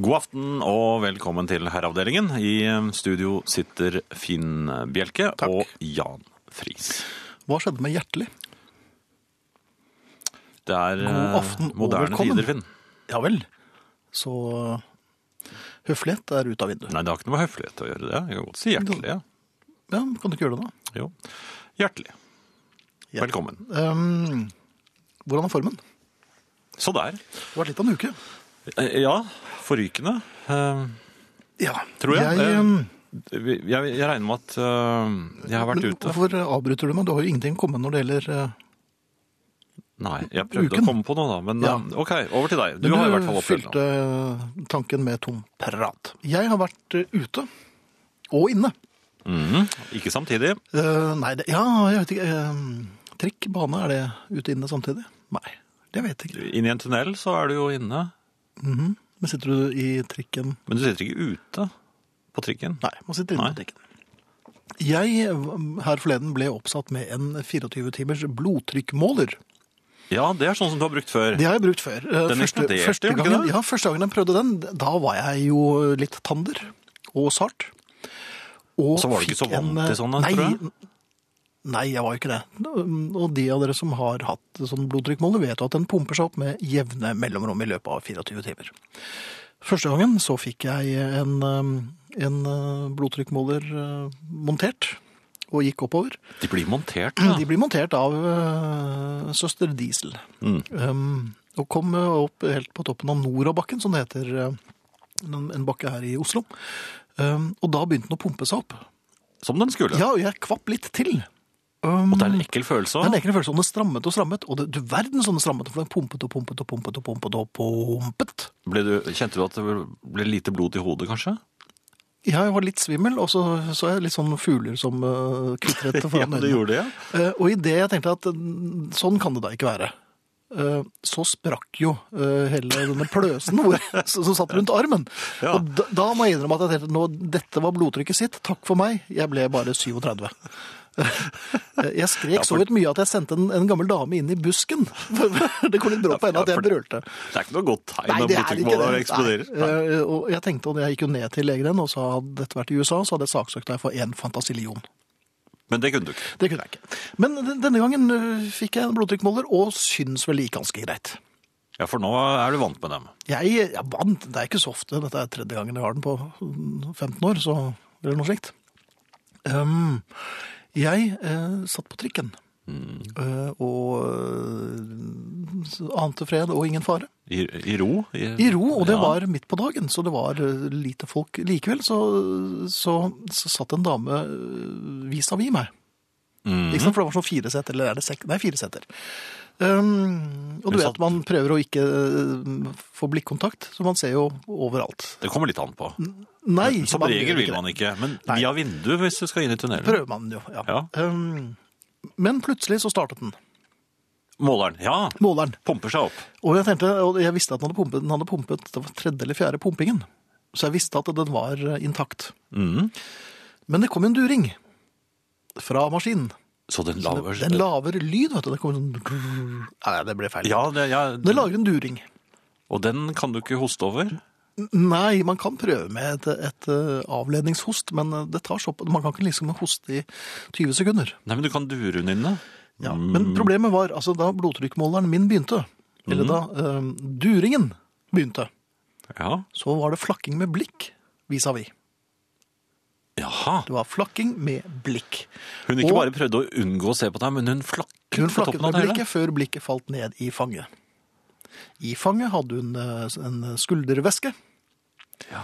God aften og velkommen til Herreavdelingen. I eh, studio sitter Finn Bjelke Takk. og Jan Friis. Hva skjedde med Hjertelig? Det er eh, God aften og moderne velkommen. tider, Finn. Ja vel. Så eh, høflighet er ut av vinduet. Nei, det har ikke noe med høflighet å gjøre. det. Jeg kan godt si hjertelig. ja. Ja, men Kan du ikke gjøre det, da? Jo. Hjertelig. Ja. Velkommen. Ehm, hvordan er formen? Det Så der. har vært litt av en uke. Eh, Ja, forrykende. Eh, Ja, Tror jeg. jeg Eh, ehm, vi- Jeg, jeg regner med at eh, jeg har vært men ute. Hvorfor avbryter du meg? Du har jo ingenting å komme med når det gjelder eh, Nei, jeg prøvde Uken. å komme på noe, da. Men Ja. eh, OK, over til deg. Du, men har i hvert fall opplevd noe. fylte eh, tanken med tom prat. Jeg har vært eh, ute. Og inne. Mhm. Ikke samtidig. Eh, nei, det, ja, jeg vet ikke eh, Trikk, bane, er det ute inne samtidig? Nei, det vet jeg ikke. Inn i en tunnel så er du jo inne. Mhm. Men sitter du i trikken Men du sitter ikke ute på trikken. Nei, man sitter Nei. inne på trikken. Jeg mm, her forleden ble oppsatt med en 24-timers blodtrykkmåler. Ja, det er sånn som du har brukt før. Det har jeg brukt før. Eh, Den eksploderte, første gjorde den ikke gangen, det? ja, første gangen jeg prøvde den, da var jeg jo litt tander og sart. Og Så var du ikke fikk så vant en, eh, til sånne, nei, tror jeg? Nei, jeg var jo ikke det. Og de av dere som har hatt sånn blodtrykkmåler, vet jo at den pumper seg opp med jevne mellomrom i løpet av 24 timer. Første gangen så fikk jeg en, eh, en eh, blodtrykkmåler eh, montert, og gikk oppover. De blir montert, da. Mm, De blir montert av eh, søster Diesel. Mm. Um, og kom eh, opp helt på toppen av Norabakken, som det heter. eh, En, en bakke her i Oslo. Um, og da begynte den å pumpe seg opp. Som den skulle. Ja, og jeg kvapp litt til. Um, Og det er en ekkel følelse det er en òg. egen følelse om det strammet og strammet. Og det, du verden som det strammet, for den pumpet og pumpet og pumpet og pumpet og pumpet. Kjente du at det ble lite blod i hodet, kanskje? Ja, jeg var litt svimmel, og så så jeg litt sånn fugler som uh, kvitret foran det gjorde det, ja. Eh, Og i det jeg tenkte at mm, sånn kan det da ikke være, eh, så sprakk jo eh, hele denne pløsen hvor, som som satt rundt armen. Ja. Og da, da må jeg innrømme at jeg tenkte nå, dette var blodtrykket sitt, takk for meg, jeg ble bare 37. Eh, Jeg skrek Ja, for- så vidt mye at jeg sendte en, en gammel dame inn i busken. Det kom litt brå på henne at Ja, jeg for- brølte. Det er ikke noe godt tegn Nei, når det er ikke blodtrykkmåler det. eksploderer. Nei. Eh, Og jeg tenkte, og jeg gikk jo ned til legen og sa hadde dette vært i USA, så hadde jeg saksøkt deg for en fantasillion. Men det kunne du ikke. Det kunne jeg ikke. Men den- denne gangen øh, fikk jeg en blodtrykkmåler, og syns vel like ganske greit. Ja, For nå er du vant med dem. Jeg, jeg vant, det er ikke så ofte, dette er tredje gangen jeg har den på mm, 15 år, så eller noe slikt. Ehm, jeg eh, satt på trikken, Eh, og eh, så ante fred og ingen fare. I, i ro. I ro, og det Ja. var midt på dagen, så det var eh, lite folk. Likevel så, så, så satt en dame eh, vis-à-vis meg. Mhm. Ikke sant? For det var sånn fire seter, eller er det sek... Nei, fire seter. Um, og Hun du vet satt- man prøver å ikke eh, få blikkontakt, så man ser jo overalt. Det kommer litt an på. Mm, Nei, Som man regel gjør vil ikke man ikke, men Nei. via vindu hvis du skal inn i det. tunnelen. Prøver man jo, ja. Ja. Um, men plutselig så startet den, Måleren. Ja, måleren. pumper seg opp. Og jeg tenkte, og jeg visste at den hadde pumpet, den hadde pumpet, det var tredje eller fjerde pumpingen. Så jeg visste at den var eh, intakt. Mhm. Men det kom en during fra maskinen. Så den Den, laver den laver lyd, vet du. Det kom en sånn... Nei, det ble feil. Ja, det, ja, Den lager en during. Og den kan du ikke hoste over? Nei, man kan prøve med et, et eh, avledningshost, men eh, det tar såpass Man kan ikke liksom hoste i 20 sekunder. Nei, men du kan dure den inne. Men problemet var altså da blodtrykkmåleren min begynte, Mm. eller da eh, duringen begynte, Ja. så var det flakking med blikk vis-à-vis. Jaha. Det var flakking med blikk. Hun ikke Og- bare prøvde å unngå å se på deg, men hun flakket Hun på flakket toppen av med det hele. blikket før blikket falt ned i fanget. I fanget hadde hun eh, en skulderveske. Ja.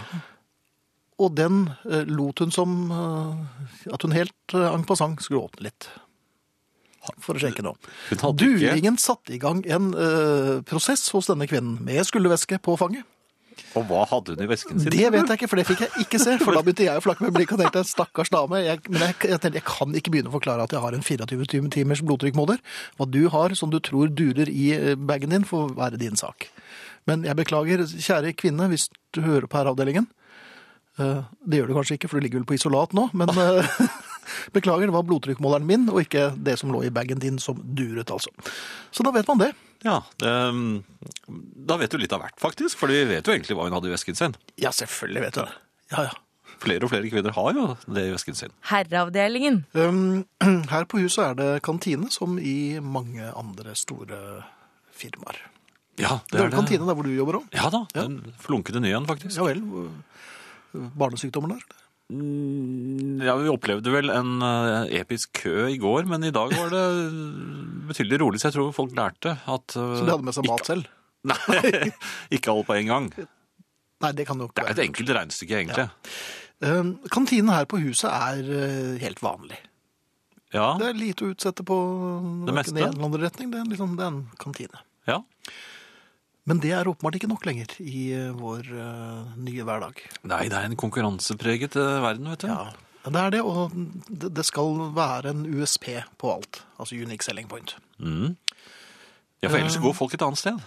Og den eh, lot hun som eh, at hun helt eh, en passant skulle åpne litt. For å sjekke nå. Hun hadde ikke Duringen satte i gang en eh, prosess hos denne kvinnen med skulderveske på fanget. Og hva hadde hun i vesken sin? Det vet jeg ikke, for det fikk jeg ikke se. For da begynte jeg å flakke med blikket og tenkte stakkars dame. Jeg, men jeg, jeg tenkte jeg kan ikke begynne å forklare at jeg har en 24 timers blodtrykkmåler. Hva du har som du tror durer i eh, bagen din, får være din sak. Men jeg beklager, kjære kvinne, hvis du hører på herreavdelingen. Eh, Det gjør du kanskje ikke, for du ligger vel på isolat nå, men eh, Beklager, det var blodtrykkmåleren min, og ikke det som lå i bagen din som duret, altså. Så da vet man det. Ja, det, Da vet du litt av hvert, faktisk. For vi vet jo egentlig hva hun hadde i vesken sin. Ja, selvfølgelig vet jeg det. Ja, ja. Flere og flere kvinner har jo det i vesken sin. Herreavdelingen. Um, her på huset er det kantine, som i mange andre store firmaer. Ja, Det er jo kantine der hvor du jobber òg. Ja da, den flunkende nye en, faktisk. Ja vel. Barnesykdommer der? Mm, Ja, Vi opplevde vel en eh, episk kø i går, men i dag var det betydelig rolig, så jeg tror folk lærte at eh, Så de hadde med seg mat selv? Nei, ikke alt på en gang. Nei, det kan jo Det ikke er være. et enkelt regnestykke, egentlig. Um, Kantinen her på huset er eh, helt vanlig. Ja, Det er lite å utsette på Det meste. hverken i en eller annen retning. Det er, liksom, det er en kantine. ja. Men det er åpenbart ikke nok lenger i eh, vår eh, nye hverdag. Nei, det er en konkurransepreget eh, verden, vet du. Ja, det er det, og det det skal være en USP på alt. Altså Unique Selling Point. Mm. Ja, for ellers går folk et annet sted.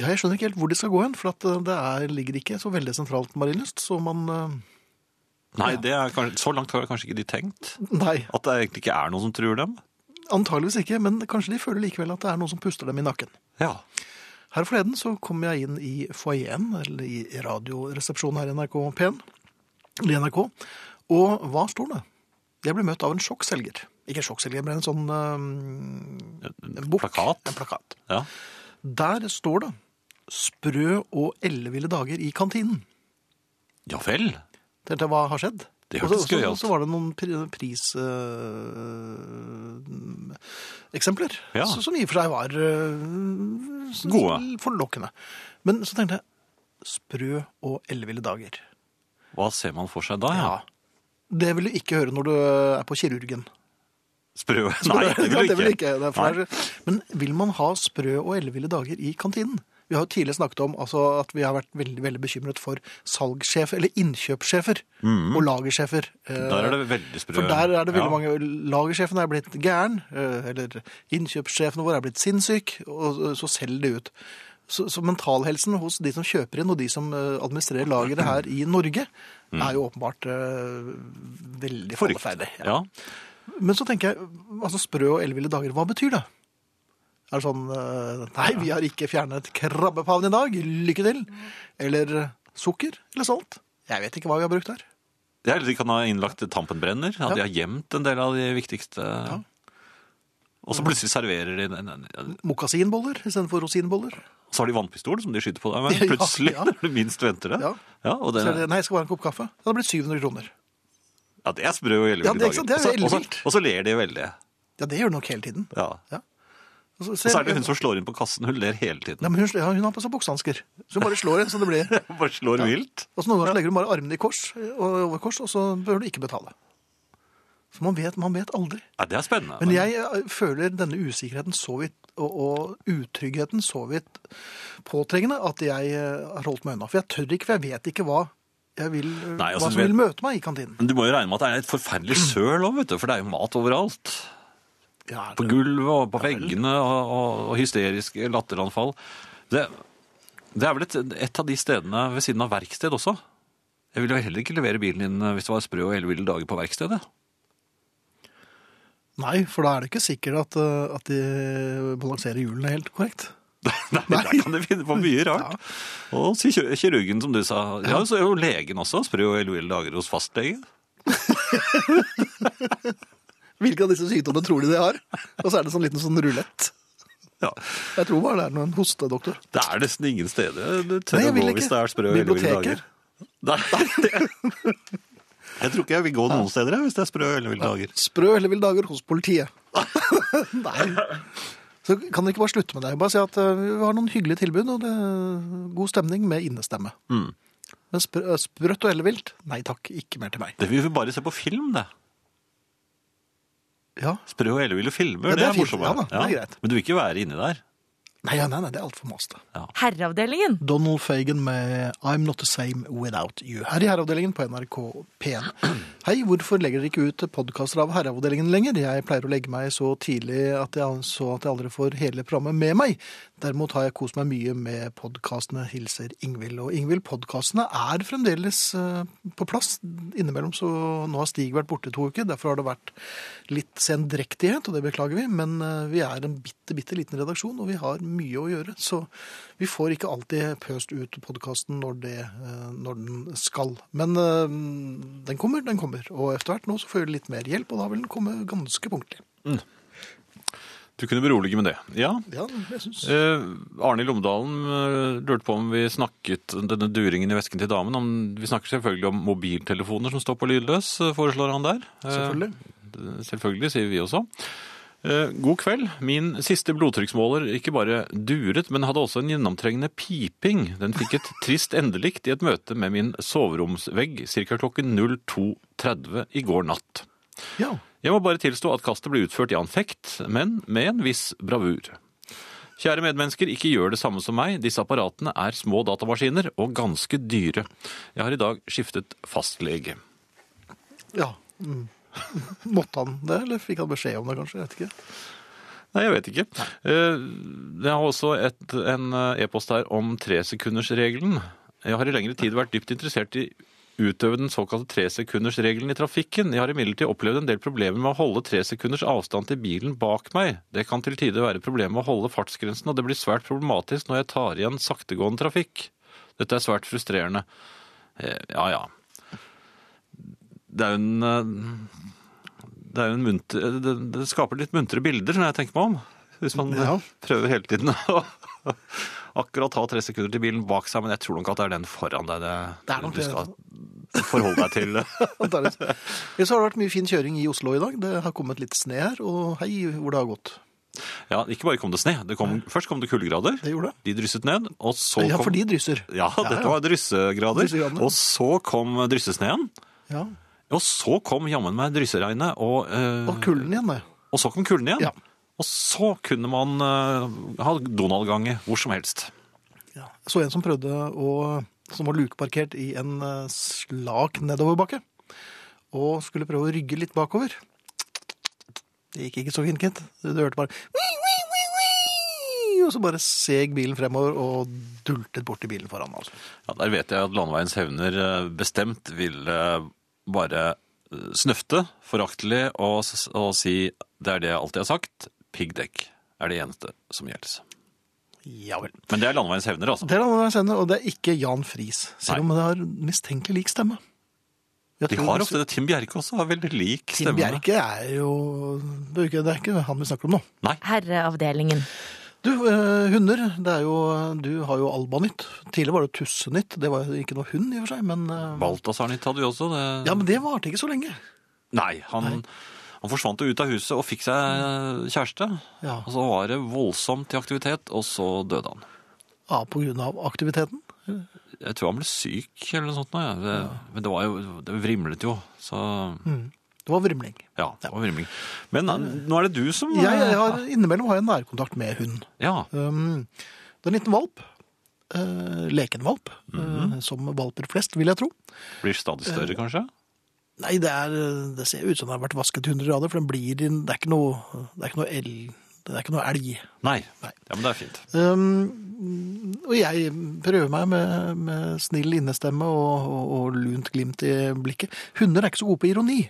Ja, jeg skjønner ikke helt hvor de skal gå hen, for at eh, det er, ligger ikke så veldig sentralt Marienlyst, så man eh, Nei, det er kanskje, så langt har kanskje ikke de tenkt. Nei, At det egentlig ikke er noen som truer dem. antageligvis ikke, men kanskje de føler likevel at det er noen som puster dem i nakken. Ja. Her forleden så kom jeg inn i foajeen, eller i radioresepsjonen her i NRK P1, eller i NRK, og hva står det? Jeg ble møtt av en sjokkselger. Ikke en sjokkselger, men en sånn eh, en bok. Plakat. En plakat. Ja. Der står det 'Sprø og elleville dager i kantinen'. ja vel. Tenkte jeg, hva har skjedd? Det Og hørtes så- så- gøyalt. Så var det noen priseksempler eksempler Ja. så- som i og for seg var eh, s- Gode. forlokkende. Men så tenkte jeg sprø og elleville dager. Hva ser man for seg da? Ja. Det vil du ikke høre når du er på kirurgen. Sprø? Nei, det Ja, vil du ikke. Det er for- Men vil man ha sprø og elleville dager i kantinen? Vi har jo tidligere snakket om altså, at vi har vært veldig, veldig bekymret for salgssjefer, eller innkjøpssjefer, og lagersjefer. Mm. Eh, Der er det veldig sprø. For der er det veldig Ja. mange Lagersjefen er blitt gæren, eh, eller innkjøpssjefen vår er blitt sinnssyk, og så selger de ut. Så, så mentalhelsen hos de som kjøper inn, og de som eh, administrerer lageret her i Norge, er jo åpenbart eh, veldig Forrykt. falleferdig. Ja. Ja. Men så tenker jeg, altså sprø og elleville dager, hva betyr det? Er det sånn eh, Nei, vi har ikke fjernet krabbepavn i dag, lykke til. Eller eh, sukker, eller salt. Jeg vet ikke hva vi har brukt her. Det er, de kan ha innlagt tampenbrenner, at de har gjemt en del av de viktigste Og så plutselig serverer de Og Mokasinboller istedenfor rosinboller. så har de vannpistol som de skyter på deg med. Ja, Plutselig, ja. når du minst venter det. Ja, Ja. og Så det, er det, nei, jeg skal bare ha en kopp kaffe. Ja, Det blir 700 kroner. ja, det er sprø og Ja, elleville det er ikke sant, det er dager. jo Og så- ellevilt. Og så ler de veldig. Ja, det gjør du nok hele tiden. Ja. Ja. Og så, Og så er det hun som slår inn på kassen. Hun ler hele tiden. Nei, men hun, sl- ja, hun har på seg buksehansker. Så hun bare slår en, så det blir Bare slår vilt. Og så noen ganger legger hun bare armene i kors, og over kors, og så bør du ikke betale. Så man vet, man vet aldri. Ja, det er spennende. Men jeg eh, føler denne usikkerheten så vidt, og, og utryggheten så vidt påtrengende, at jeg eh, har holdt meg unna. For jeg tør ikke, for jeg vet ikke hva, jeg vil, eh, Nei, altså, hva som vet- vil møte meg i kantinen. Men du må jo regne med at det er et forferdelig søl òg, vet du. For det er jo mat overalt. Ja, På gulvet og på veggene og, og, og hysteriske latteranfall. Det, det er vel et, et av de stedene ved siden av verksted også. Jeg ville vel heller ikke levere bilen din hvis det var sprø og elleville dager på verkstedet. Nei, for da er det ikke sikkert at, eh, at de balanserer hjulene helt korrekt. Nei, Der kan du finne på mye rart. Og si kir- kirurgen, som du sa. Ja, så er jo legen også. Sprø og elleville dager hos fastlege. Hvilke av disse sykdommene tror de de har? Og så er det sånn liten sånn rulett. Ja, Jeg tror bare det er noen hostedoktor. Det er nesten ingen steder du tør Nei, jeg å vil gå ikke. hvis det er sprø og elleville dager. Nei, Biblioteket? det... Jeg tror ikke jeg vil gå noen steder jeg, hvis det er sprø og elleville dager. Sprø eller ville dager hos politiet. Nei. Så kan dere ikke bare slutte med det. Bare si at eh, vi har noen hyggelige tilbud, og det er god stemning med innestemme. Men sprø, eh, sprøtt og ellevilt? Nei takk, ikke mer til meg. Det vil vi bare se på film, det. Ja, Sprø og elleville filmer, det, Ja, det er er fint. morsommere. Ja da, det er greit. Men du vil ikke være inni der. Nei, nei, nei, det er altfor maste. Herreavdelingen. Donald Fagan med I'm Not The Same Without You. Her i Herreavdelingen på NRK P1. Hei, hvorfor legger dere ikke ut podkaster av Herreavdelingen lenger? Jeg pleier å legge meg så tidlig at jeg så at jeg aldri får hele programmet med meg. Derimot har jeg kost meg mye med podkastene, hilser Ingvild. Og Ingvild, podkastene er fremdeles eh, på plass. Innimellom så Nå har Stig vært borte i to uker, derfor har det vært litt sendrektighet, og det beklager vi. Men eh, vi er en bitte, bitte liten redaksjon, og vi har mye å gjøre. Så vi får ikke alltid pøst ut podkasten når, det, eh, når den skal. Men eh, den kommer, den kommer. Og etter hvert nå så får vi litt mer hjelp, og da vil den komme ganske punktlig. Du kunne berolige med det. Ja. Ja, jeg synes. Eh, Arne Lomdalen eh, lurte på om vi snakket denne duringen i vesken til damen. Om, vi snakker selvfølgelig om mobiltelefoner som står på lydløs, eh, foreslår han der. Eh, Selvfølgelig. Selvfølgelig, sier vi også. Eh, God kveld. Min siste blodtrykksmåler ikke bare duret, men hadde også en gjennomtrengende piping. Den fikk et trist endelikt i et møte med min soveromsvegg ca. klokken 02.30 i går natt. Ja. Jeg må bare tilstå at kastet ble utført i anfekt, men med en viss bravur. Kjære medmennesker, ikke gjør det samme som meg. Disse apparatene er små datamaskiner og ganske dyre. Jeg har i dag skiftet fastlege. Ja. Mm. Måtte han det, eller fikk han beskjed om det, kanskje? Jeg vet ikke. Nei, jeg vet ikke. Eh, Jeg har også et, en eh, e-post her om tresekundersregelen. Jeg har i lengre tid vært dypt interessert i utøve den såkalte tresekundersregelen i trafikken. Jeg har imidlertid opplevd en del problemer med å holde tre sekunders avstand til bilen bak meg. Det kan til tider være problemer med å holde fartsgrensen, og det blir svært problematisk når jeg tar igjen saktegående trafikk. Dette er svært frustrerende. Eh, Ja, ja. Det er jo en eh, Det er jo en munter Det, det skaper litt muntre bilder, når jeg tenker meg om. Hvis man eh, Ja. prøver hele tiden å akkurat ha tre sekunder til bilen bak seg, men jeg tror nok at det er den foran deg det, Det er nok du det. skal forholde deg til. Antageligvis. Ellers har det vært mye fin kjøring i Oslo i dag. Det har kommet litt sne her, og hei hvor det har gått. Ja, ikke bare kom det sne. Det kom, først kom det kuldegrader. Det gjorde det. De drysset ned, og så Ja, kom for de drysser. Ja, dette var dryssegrader. Dryssegrader. Og så kom dryssesneen. Ja. Og så kom jammen meg drysseregnet, og, eh, Og kulden igjen, det. og så kom kulden igjen. Ja. Og så kunne man eh, ha Donald-gange hvor som helst. Ja. Jeg Så en som prøvde å Som var lukeparkert i en eh, slak nedoverbakke. Og skulle prøve å rygge litt bakover. Det gikk ikke så fint, Kent. Du hørte bare «Wii, wii, wii, wii», Og så bare seg bilen fremover og dultet borti bilen foran. Altså. Ja, der vet jeg at landeveiens hevner eh, bestemt ville eh, bare eh, snøfte foraktelig og, s- og si det er det jeg alltid har sagt, piggdekk er det eneste som gjelder. Ja vel. Men det er landeveiens hevner, altså. Det er han jeg sender, og det er ikke Jan Friis. Selv om det har mistenkelig lik stemme. Jeg De tror har ofte det. Tim Bjerke også har veldig lik Tim stemme. Bjerke er jo Det er ikke, det er ikke han vi snakker om nå. Nei, Herreavdelingen. Du, eh, hunder. Det er jo, du har jo Albanytt. Tidligere var det Tussenytt. Det var jo ikke noe hund i og for seg, men eh, Balthazar Nytt hadde vi også. Det... Ja, men det varte ikke så lenge. Nei, han, han forsvant jo ut av huset og fikk seg eh, kjæreste. Ja. Og så var det voldsomt til aktivitet, og så døde han. Ja, på grunn av aktiviteten. Jeg tror han ble syk eller noe sånt. nå, Ja. Det, Men det, var jo, det vrimlet jo, så... Mm. Det var vrimling. Ja, det var vrimling. Men eh, nå er det du som Jeg, eh, jeg har, innimellom har jeg nærkontakt med hund. Ja, Um, det er en liten valp. Eh, leken valp. Mhm. eh, som valper flest, vil jeg tro. blir stadig større, Eh. kanskje? Nei, det, er, det ser ut som det har vært vasket 100 grader, for den blir, inn- det er ikke noe, det er ikke noe, el, det er ikke noe elg. Nei. Nei. Ja, men det er fint. Um, og jeg prøver meg med, med snill innestemme og, og, og lunt glimt i blikket. Hunder er ikke så gode på ironi.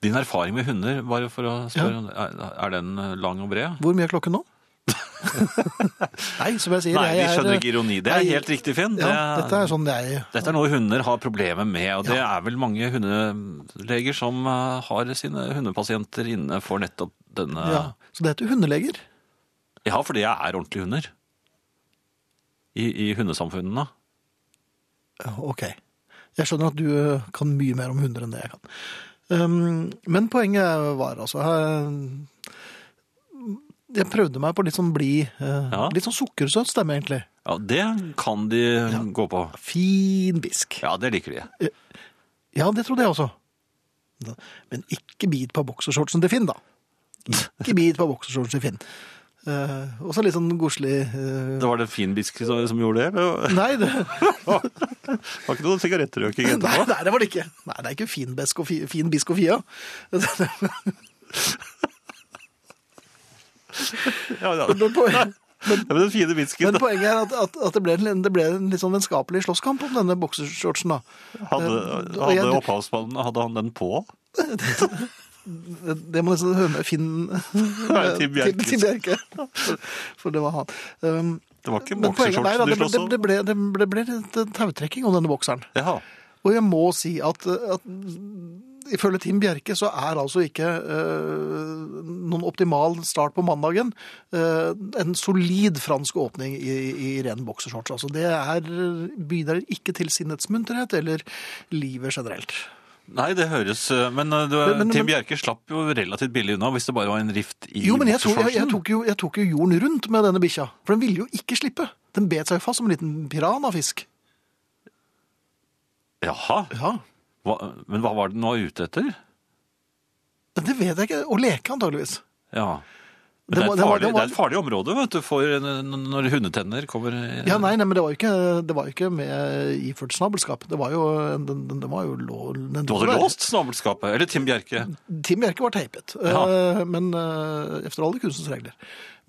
Din erfaring med hunder, bare for å Ja. spørre, om det, er- er den lang og bred? Hvor mye er klokken nå? Nei, som jeg sier. Nei, de jeg er- skjønner ikke ironi. Det er Nei, helt riktig, Finn. Ja, Det- dette er sånn jeg Dette er noe hunder har problemer med, og det er vel mange hundeleger som eh, har sine hundepasienter inne for nettopp denne ja. Ja, Så det heter hundeleger. fordi jeg er ordentlige hunder. I, i hundesamfunnene. Ja, Ok. Jeg skjønner at du eh, kan mye mer om hunder enn det jeg kan. Um, men poenget var altså eh, Jeg prøvde meg på litt sånn blid, eh, Ja. litt sånn sukkersøt stemme, egentlig. Ja, det kan de gå på. Fin bisk. Ja. Ja, det liker de. det trodde jeg også. Men ikke bit på boksershortsen til Finn, da. Ikke bit på boksershortsen til Finn. Eh, og så litt sånn godslig eh, Det var det finbisken som, som gjorde det? eller? Nei, det, Det var ikke noe sigarettrøking nei, etterpå? nei, det var det ikke. Nei, det er ikke fin, besk og fi, fin bisk og fia. Ja, ja. Men, poen- Ja, men den fine bisken men poenget er at, at, at det, ble en, det ble en litt sånn vennskapelig slåsskamp om denne boksershortsen. da. hadde, eh, og hadde jeg- opphavsmannen Hadde han den på? Det, det må nesten høre med Finn Nei, Tim Bjerke. Tim Bjerke. For det var han. Um, Det var ikke men poenget- nei, da, bokseshortsen du det, ble- sloss om? det, ble- det, ble- det ble litt tautrekking om denne bokseren. Ja. Og jeg må si at, at ifølge Tim Bjerke så er altså ikke eh, noen optimal start på mandagen eh, en solid fransk åpning i, i ren boksershorts. Altså, det er, bidrar ikke til sinnets munterhet eller livet generelt. Nei, det høres eh, Men, eh, du, Men- men- Tim men- Bjerke slapp jo relativt billig unna hvis det bare var en rift i Jo, men jeg, tror, jeg, jeg, bokseshortsen. tok jo, jeg tok jo jorden rundt med denne bikkja, for den ville jo ikke slippe. Den bet seg jo fast som en liten piranafisk. Jaha. Ja, Hva, men hva var det den var ute etter? men det vet jeg ikke. Å leke antageligvis. Ja. Men Det det, er var- et det var- farlig, det var- det er et farlig område vet du, for eh, n- når hundetenner kommer eh, Ja, nei, nei, men det var jo ikke, det var jo ikke med iført snabelskap. Det var jo, den, den, den var jo lå, den, Du hadde låst snabelskapet. Eller Tim Bjerke. Tim Bjerke var teipet, Ja. eh, men eh, efter alle kunstens regler.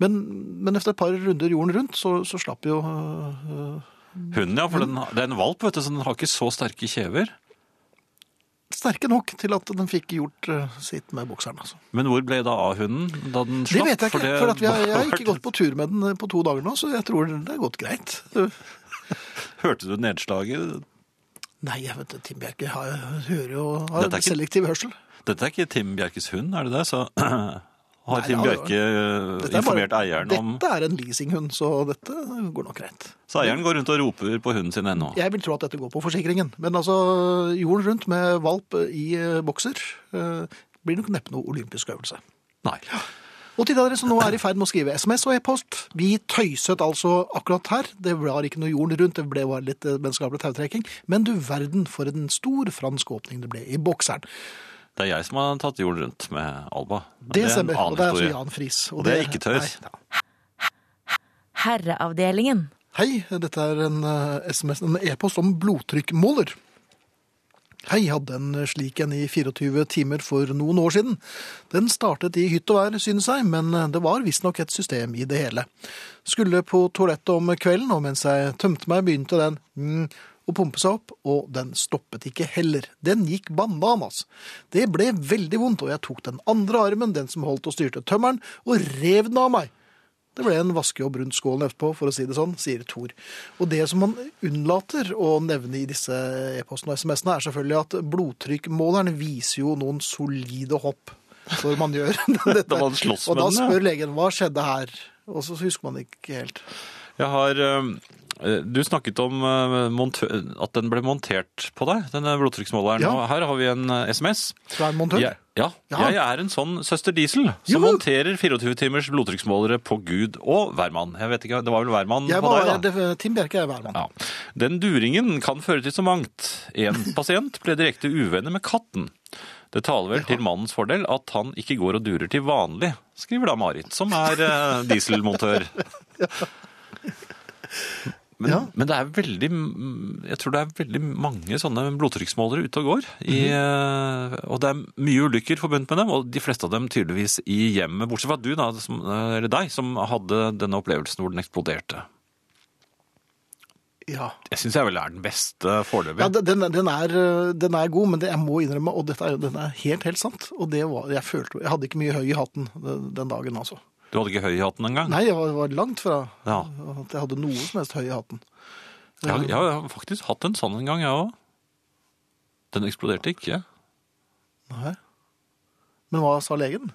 Men, men efter et par runder jorden rundt, så, så slapp jo eh, Hunden, ja. For den, det er en valp, vet du, så den har ikke så sterke kjever. sterke nok til at den fikk gjort eh, sitt med bokseren. Altså. Men hvor ble det av hunden da den Det slapp? vet jeg ikke, for, det at vi har, jeg har var- ikke gått på tur med den eh, på to dager nå, så jeg tror det har gått greit. Hørte du nedslaget? Nei, jeg vet Tim Bjerke har, hører jo har Dette er ikke- selektiv hørsel. Dette er ikke Tim Bjerkes hund, er det det? Så har Nei, Tim det er- Bjerke eh, Dette er informert bare- eieren om Dette er en leasinghund, så dette går nok greit. Så eieren går rundt og roper på hunden sin ennå. Jeg vil tro at dette går på forsikringen. Men altså, jorden rundt med valp i eh, bokser eh, blir nok neppe noe olympisk øvelse. Nei. Og til dere som nå er i ferd med å skrive SMS og e-post, vi tøyset altså akkurat her. Det var ikke noe jorden rundt, det ble bare litt eh, vennskapelig tautrekking. Men du verden for en stor fransk åpning det ble i bokseren. Det er jeg som har tatt jord rundt med Alba. Men Det, er en stemmer. annen Og det er altså historie. Jan Friis. Og det er ikke tøys. Nei, ja. Herreavdelingen. Hei, dette er en eh, SMS, en e-post om blodtrykkmåler. Hei, hadde en slik en i 24 timer for noen år siden. Den startet i hytt og vær, synes jeg, men eh, det var visstnok et system i det hele. Skulle på toalettet om kvelden, og mens jeg tømte meg, begynte den mm, å pumpe seg opp, og den stoppet ikke heller. Den gikk bananas. Det ble veldig vondt, og jeg tok den andre armen, den som holdt og styrte tømmeren, og rev den av meg. Det ble en vaskejobb rundt skålen etterpå, for å si det sånn, sier Thor. Og det som man unnlater å nevne i disse e-postene og SMS-ene, er selvfølgelig at blodtrykkmåleren viser jo noen solide hopp når man gjør dette. Da man slåss og da med den, ja. spør legen hva skjedde her? Og så husker man ikke helt. Jeg har eh, Du snakket om eh, montø- at den ble montert på deg, denne blodtrykksmåleren. Ja. Og her har vi en eh, SMS. Fra en montør? Jeg, ja, Ja. jeg er en sånn søster Diesel som Juhu! monterer 24-timers blodtrykksmålere på Gud og hvermann. Jeg vet ikke, Det var vel hvermann Jeg på var, deg, da? det, Tim Bjerke er hvermann. Ja. Den duringen kan føre til så mangt. En pasient ble direkte uvenner med katten. Det taler vel til mannens fordel at han ikke går og durer til vanlig, skriver da Marit, som er eh, dieselmontør. Men, Ja. men det er veldig Jeg tror det er veldig mange sånne blodtrykksmålere ute og går. I, Mhm. eh, Og det er mye ulykker forbundet med dem, og de fleste av dem tydeligvis i hjemmet. Bortsett fra du, da, som, eh, eller deg, som hadde denne opplevelsen hvor den eksploderte. Ja. Jeg syns jeg vel er den beste foreløpig. Ja, den, den, er, den er god, men det, jeg må innrømme, og dette er, den er helt, helt sant. Og det var, jeg følte, jeg hadde ikke mye høy i hatten den den dagen, altså. Du hadde ikke høy i hatten engang? Nei, jeg var, var langt fra Ja. at jeg hadde noe som helst høy i hatten. Jeg, har- jeg har faktisk hatt en sånn en gang, jeg òg. Den eksploderte ikke. Nei. Men hva sa legen?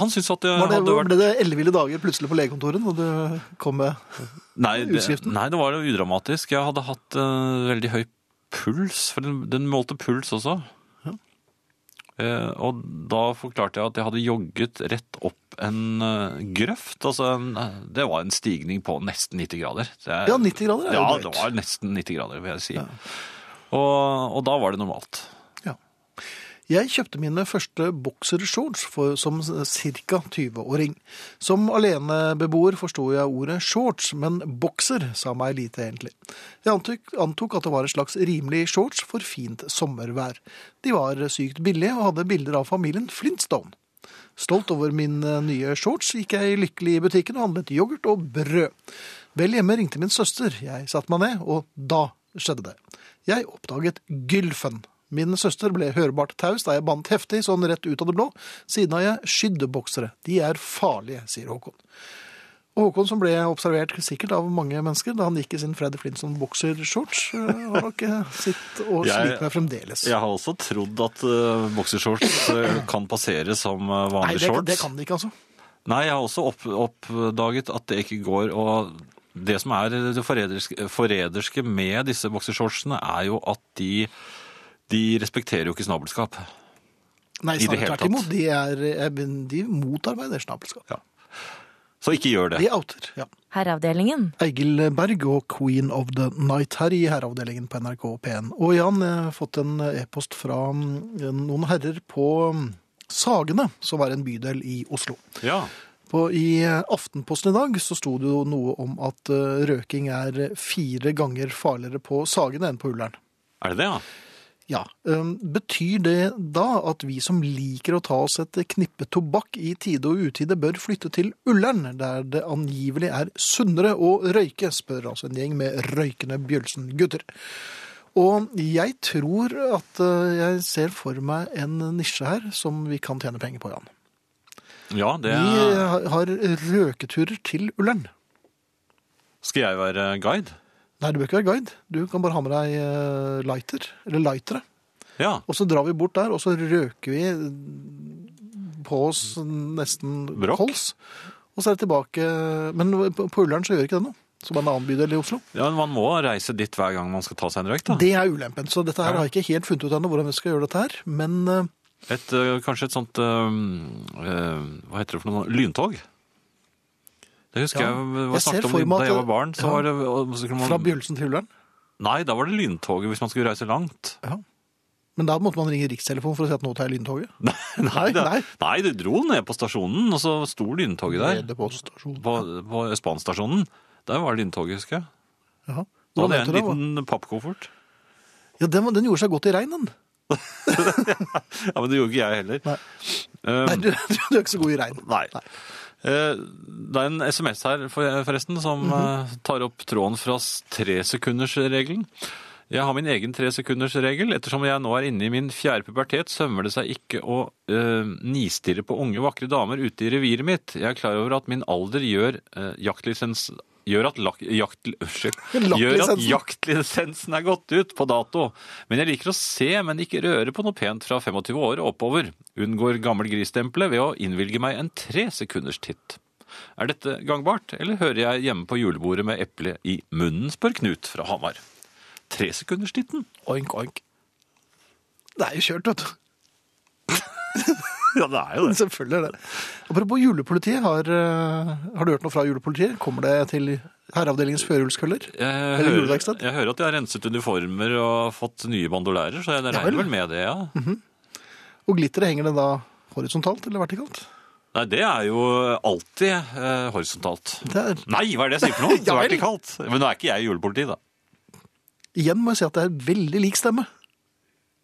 Han syntes at jeg Var det, hadde vært Ble det elleville dager plutselig på legekontoret når du kom med nei det, utskriften? nei, det var jo udramatisk. Jeg hadde hatt eh, veldig høy puls, for den, den målte puls også. Eh, og da forklarte jeg at jeg hadde jogget rett opp en eh, grøft. Altså en, eh, det var en stigning på nesten 90 grader. Så jeg- Ja, 90 grader er jo Ja, drøyt. det var Eh, nesten 90 grader, vil jeg si. Og, og da var det normalt. Ja. Jeg kjøpte mine første boksershorts for- som ca. 20-åring. Som alenebeboer forsto jeg ordet shorts, men bokser sa meg lite egentlig. Jeg antok, antok at det var en slags rimelig shorts for fint sommervær. De var sykt billige og hadde bilder av familien Flintstone. Stolt over min eh, nye shorts gikk jeg lykkelig i butikken og handlet yoghurt og brød. Vel hjemme ringte min søster. Jeg satte meg ned, og da skjedde det. Jeg oppdaget Gylfen. Min søster ble hørbart taus da jeg bandt heftig, sånn rett ut av det blå. Siden har jeg skydd boksere. De er farlige, sier Håkon. Og Håkon, som ble observert sikkert av mange mennesker da han gikk i sin Freddy Flintstone-boksershorts, eh, har nok eh, sitt og Jeg- sliter med fremdeles. Jeg har også trodd at uh, boksershorts eh, kan passere som eh, Nei, vanlige det, shorts. det kan de ikke, altså. Nei, jeg har også opp, oppdaget at det ikke går. Og det som er eh, det forræderske, forræderske med disse boksershortsene, er jo at de, de respekterer jo ikke snabelskap. Nei, I det snarere hele tvert tatt. imot. De, er, eh, de motarbeider snabelskap. Så ikke gjør det. De outer, ja. Herreavdelingen. Egil Berg og Queen of the Night her i herreavdelingen på NRK P1. Og Jan, jeg har fått en e-post fra mm, noen herrer på mm, Sagene, som er en bydel i Oslo. Ja. På, I eh, Aftenposten i dag så sto det jo noe om at eh, røking er fire ganger farligere på Sagene enn på Ullern. Er det det, ja? Ja, øhm, Ehm, Betyr det da at vi som liker å ta oss et knippe tobakk i tide og utide, bør flytte til Ullern, der det angivelig er sunnere å røyke, spør altså en gjeng med røykende Bjølsen-gutter. Og jeg tror at øh, jeg ser for meg en nisje her som vi kan tjene penger på, Jan. Ja, det Vi øh, har røketurer til Ullern. Skal jeg være guide? Nei, du bør ikke være guide. Du kan bare ha med deg øh, lighter, eller lightere. Ja. Og så drar vi bort der, og så røker vi på oss nesten Brokk. kols. Og så er det tilbake Men på på Ullern så gjør ikke det noe. Som en annen bydel i Oslo. ja, men man må reise dit hver gang man skal ta seg en røyk, da. Det er ulempen. Så dette her Ja. har jeg ikke helt funnet ut ennå hvordan vi skal gjøre dette her. Men eh, Et, eh, kanskje et sånt eh, eh, Hva heter det for noe? Lyntog? Det husker Ja. jeg var Jeg ser snakket for om meg da at- jeg var barn. Så Ja. var det, og så kunne man, fra Bjølsen til Ullern Nei, da var det lyntoget hvis man skulle reise langt. Men da måtte man ringe Rikstelefonen for å si at nå tar jeg lyntoget. Nei, nei, Nei, det, nei. nei, det dro ned på stasjonen, og så sto lyntoget der. Nede på stasjonen. På, på Østbanestasjonen. Der var lyntoget, husker jeg. Jaha. Da Hvordan hadde jeg en heter det? hva? liten pappkoffert. Ja, den, var- den gjorde seg godt i regnen. Ja, Men det gjorde ikke jeg heller. Nei. Eh, Nei, du, du er ikke så god i regn. Nei. Eh, Det er en SMS her for- forresten som Mhm. eh, tar opp tråden fra s- tresekundersregelen. Jeg har min egen tresekundersregel. Ettersom jeg nå er inne i min fjerde pubertet, sømmer det seg ikke å eh, nistirre på unge, vakre damer ute i reviret mitt. Jeg er klar over at min alder gjør eh, jaktlisens... Gjør at, lak, jakt, unnskyld, gjør at Lakklisensen. jaktlisensen er gått ut på dato. Men jeg liker å se, men ikke røre på noe pent fra 25 år og oppover. Unngår gammelgristempelet ved å innvilge meg en tre sekunders titt. Er dette gangbart, eller hører jeg hjemme på julebordet med eple i munnen, spør Knut fra Hamar. Tresekunderstitten? Oink, oink. Det er jo kjørt, vet du. Ja, det er jo Men Selvfølgelig er det det. Apropos julepolitiet, har, eh, har du hørt noe fra julepolitiet? Kommer det til herreavdelingens førjulskøller? Jeg Eller hører, juleverksted? jeg hører at de har renset uniformer og fått nye bandolærer, så jeg regner vel. vel med det, ja. Og glitteret henger det da horisontalt eller vertikalt? Nei, det er jo alltid eh, horisontalt. Det er, Nei, hva er det jeg sier for noe? Ja vel. Vertikalt. Men nå er ikke jeg i julepolitiet, da. igjen må jeg si at det er veldig lik stemme.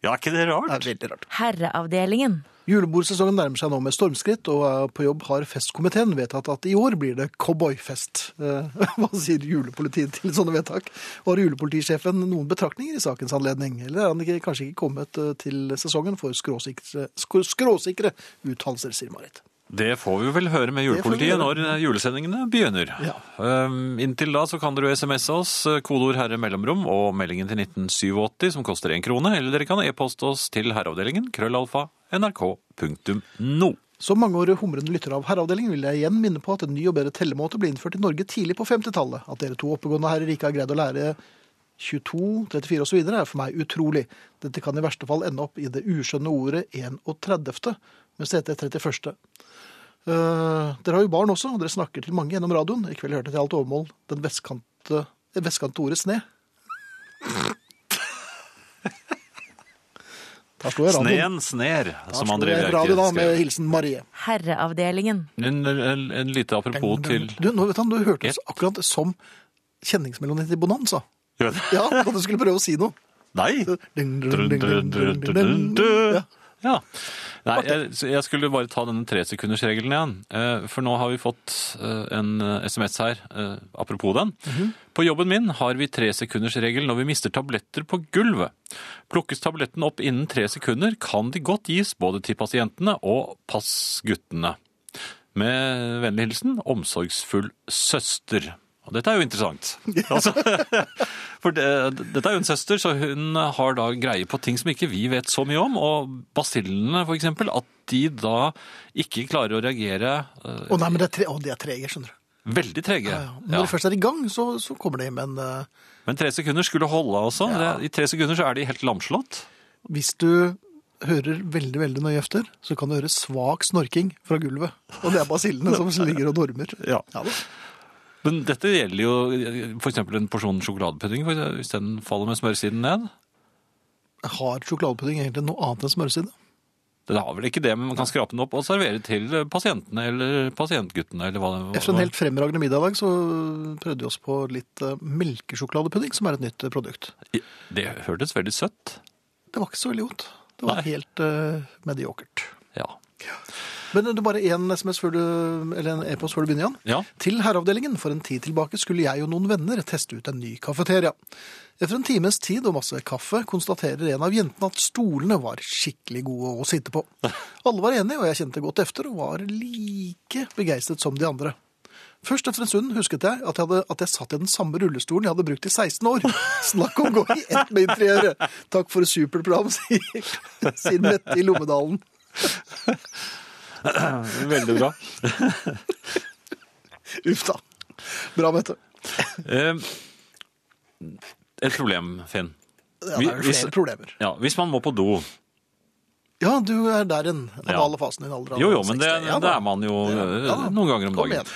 Ja, er ikke det Det rart? er veldig rart. Herreavdelingen. Julebordsesongen nærmer seg nå med stormskritt, og eh, på jobb har festkomiteen vedtatt at i år blir det cowboyfest. Eh, Hva sier julepolitiet til sånne vedtak? Og har julepolitisjefen noen betraktninger i sakens anledning? Eller er han ikke, kanskje ikke kommet eh, til sesongen for skråsikre, skr- skråsikre uttalelser, sier Marit. Det får vi vel høre med Det får vi julepolitiet gjøre. når eh, julesendingene begynner. Ja. Um, inntil da så kan dere jo SMS-e oss, eh, kodeord herre mellomrom og meldingen til 1987 som koster én krone, eller dere kan e-poste oss til herreavdelingen krøllalfa nrk.no. Som mangeårig humrende lytter av Herreavdelingen vil jeg igjen minne på at en ny og bedre tellemåte ble innført i Norge tidlig på 50-tallet. At dere to oppegående herrer ikke har greid å lære 22, 34 osv. er for meg utrolig. Dette kan i verste fall ende opp i det uskjønne ordet 31., mens det heter 31. Eh, dere har jo barn også, og dere snakker til mange gjennom radioen. I kveld hørte jeg til alt overmål den vestkante, det vestkante ordet sne. Der slo jeg radioen. Sneen sner, som Der slo André jeg radio da, Bjerke med skrev. hilsen Marie. Herreavdelingen. En, en, en lite apropos til Du, nå vet han, du hørtes akkurat som kjenningsmelodien til Bonanza. Gjør det? Ja, da du skulle prøve å si noe. Nei! Ding, ding, ding, ding, ding, ding, ding. Ja. Ja. Nei, jeg, så jeg skulle bare ta denne tresekundersregelen igjen. Eh, For nå har vi fått eh, en eh, SMS her, eh, apropos den. På jobben min har vi tresekundersregel når vi mister tabletter på gulvet. Plukkes tabletten opp innen tre sekunder, kan de godt gis både til pasientene og passguttene. Med vennlig hilsen omsorgsfull søster. Og dette er jo interessant. Altså, for det, dette er jo en søster, så hun har da greie på ting som ikke vi vet så mye om. Og basillene, for eksempel, at de da ikke klarer å reagere eh, Å nei, men det er, tre, å, de er trege, skjønner du. veldig trege. Ja, ja. Når de først er i gang, så, så kommer de. Men eh, Men tre sekunder skulle holde, altså. Det- I tre sekunder så er de helt lamslått. hvis du hører veldig veldig nøye efter, så kan du høre svak snorking fra gulvet. Og det er basillene som ligger og dormer. Ja. da. Men dette gjelder jo eh, for eksempel en porsjon sjokoladepudding, for eksempel, hvis den faller med smørsiden ned. Har sjokoladepudding egentlig noe annet enn smøreside? Den har vel ikke det, men man kan skrape den opp og servere til pasientene eller pasientguttene. eller hva det Efter en helt fremragende middag i dag, så prøvde vi oss på litt eh, melkesjokoladepudding, som er et nytt eh, produkt. Det hørtes veldig søtt. Det var ikke så veldig godt. Det var Nei. helt eh, mediokert. Ja. Men det er bare én SMS før du, eller en e-post før du begynner, Jan. ja. Til herreavdelingen for en tid tilbake skulle jeg og noen venner teste ut en ny kafeteria. Etter en times tid og masse kaffe konstaterer en av jentene at stolene var skikkelig gode å sitte på. Alle var enige, og jeg kjente godt efter og var like begeistret som de andre. Først etter en stund husket jeg at jeg, hadde, at jeg satt i den samme rullestolen jeg hadde brukt i 16 år. Snakk om å gå i ett med interiøret! Takk for et supert program, sier, sier Mette i Lommedalen. Veldig bra. Uff da. Bra, Mette. Eh, et problem, Finn. Ja, det er Vi- jo hvis- flere problemer. Ja, hvis man må på do. Ja, du er der en. Den Ja. alle fasen i en alder av Jo, jo, men det, 60. Ja, det da. er man jo Ja, eh, ja da. noen ganger om Kom dagen. igjen.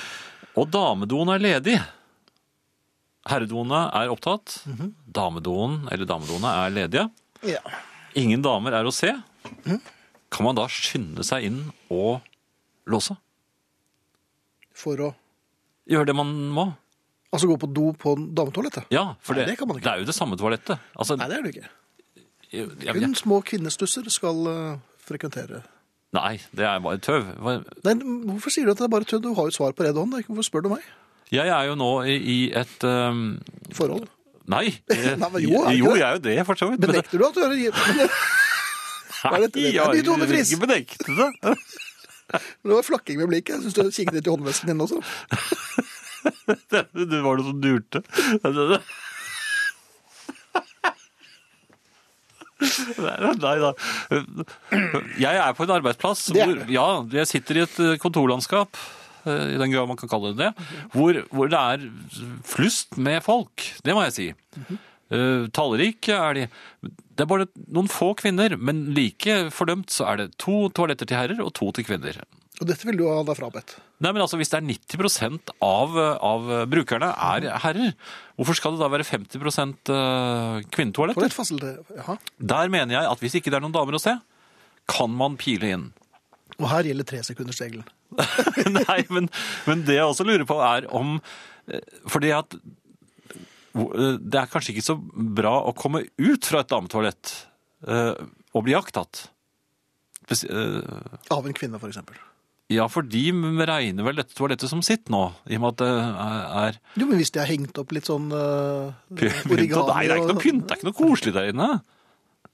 Og damedoen er ledig. Herredoene er opptatt. Mhm. Damedoen, eller damedoene, er ledige. Ja. Ingen damer er å se. Mhm. Kan man da skynde seg inn og låse? For å Gjøre det man må? altså, gå på do på dametoalettet? Ja, for Nei, det, det kan man ikke. det er jo det samme toalettet. Altså, Nei, det er det ikke. jeg- jeg- Kun små kvinnestusser skal eh, frekventere nei, det er bare tøv. Hva- Nei, hvorfor sier du at det er bare tøv? Du har jo et svar på redd hånd. da. Hvorfor spør du meg? Jeg er jo nå i, i et um, Forhold. Nei. Nei, men jo, er det ikke jo, det? jeg er jo det, for så vidt. men det- Benekter du at du er men Hva er dette? Det er jeg ny Tone Friis. ikke benekte det. Det var flakking med blikket. Jeg syns du kikket litt i håndvesken din også. Det det var det som durte. Nei, nei da. Jeg er på en arbeidsplass Det er hvor du. ja, jeg sitter i et kontorlandskap, eh, i den grad man kan kalle det det, hvor, hvor det er flust med folk. Det må jeg si. Eh, Tallrike er de. Det er bare noen få kvinner, men like fordømt så er det to toaletter til herrer og to til kvinner. Og dette vil du ha deg frabedt. Nei, men altså Hvis det er 90 av, av brukerne er herrer, hvorfor skal det da være 50 kvinnetoaletter? Toalettfasilitet. Jaha. Der mener jeg at hvis ikke det er noen damer å se, kan man pile inn. Og her gjelder tresekundersregelen. Nei, men, men det jeg også lurer på, er om eh, Fordi at hvor- eh, det er kanskje ikke så bra å komme ut fra et dametoalett eh, og bli jaktet. Spes- eh, Av en kvinne, f.eks. Ja, for de regner vel dette toalettet som sitt nå, i og med at det eh, er- er Jo, men hvis de har hengt opp litt sånn eh, Pynt, nei, det origami er ikke og- sånn. noe pynt, det er ikke noe koselig der inne.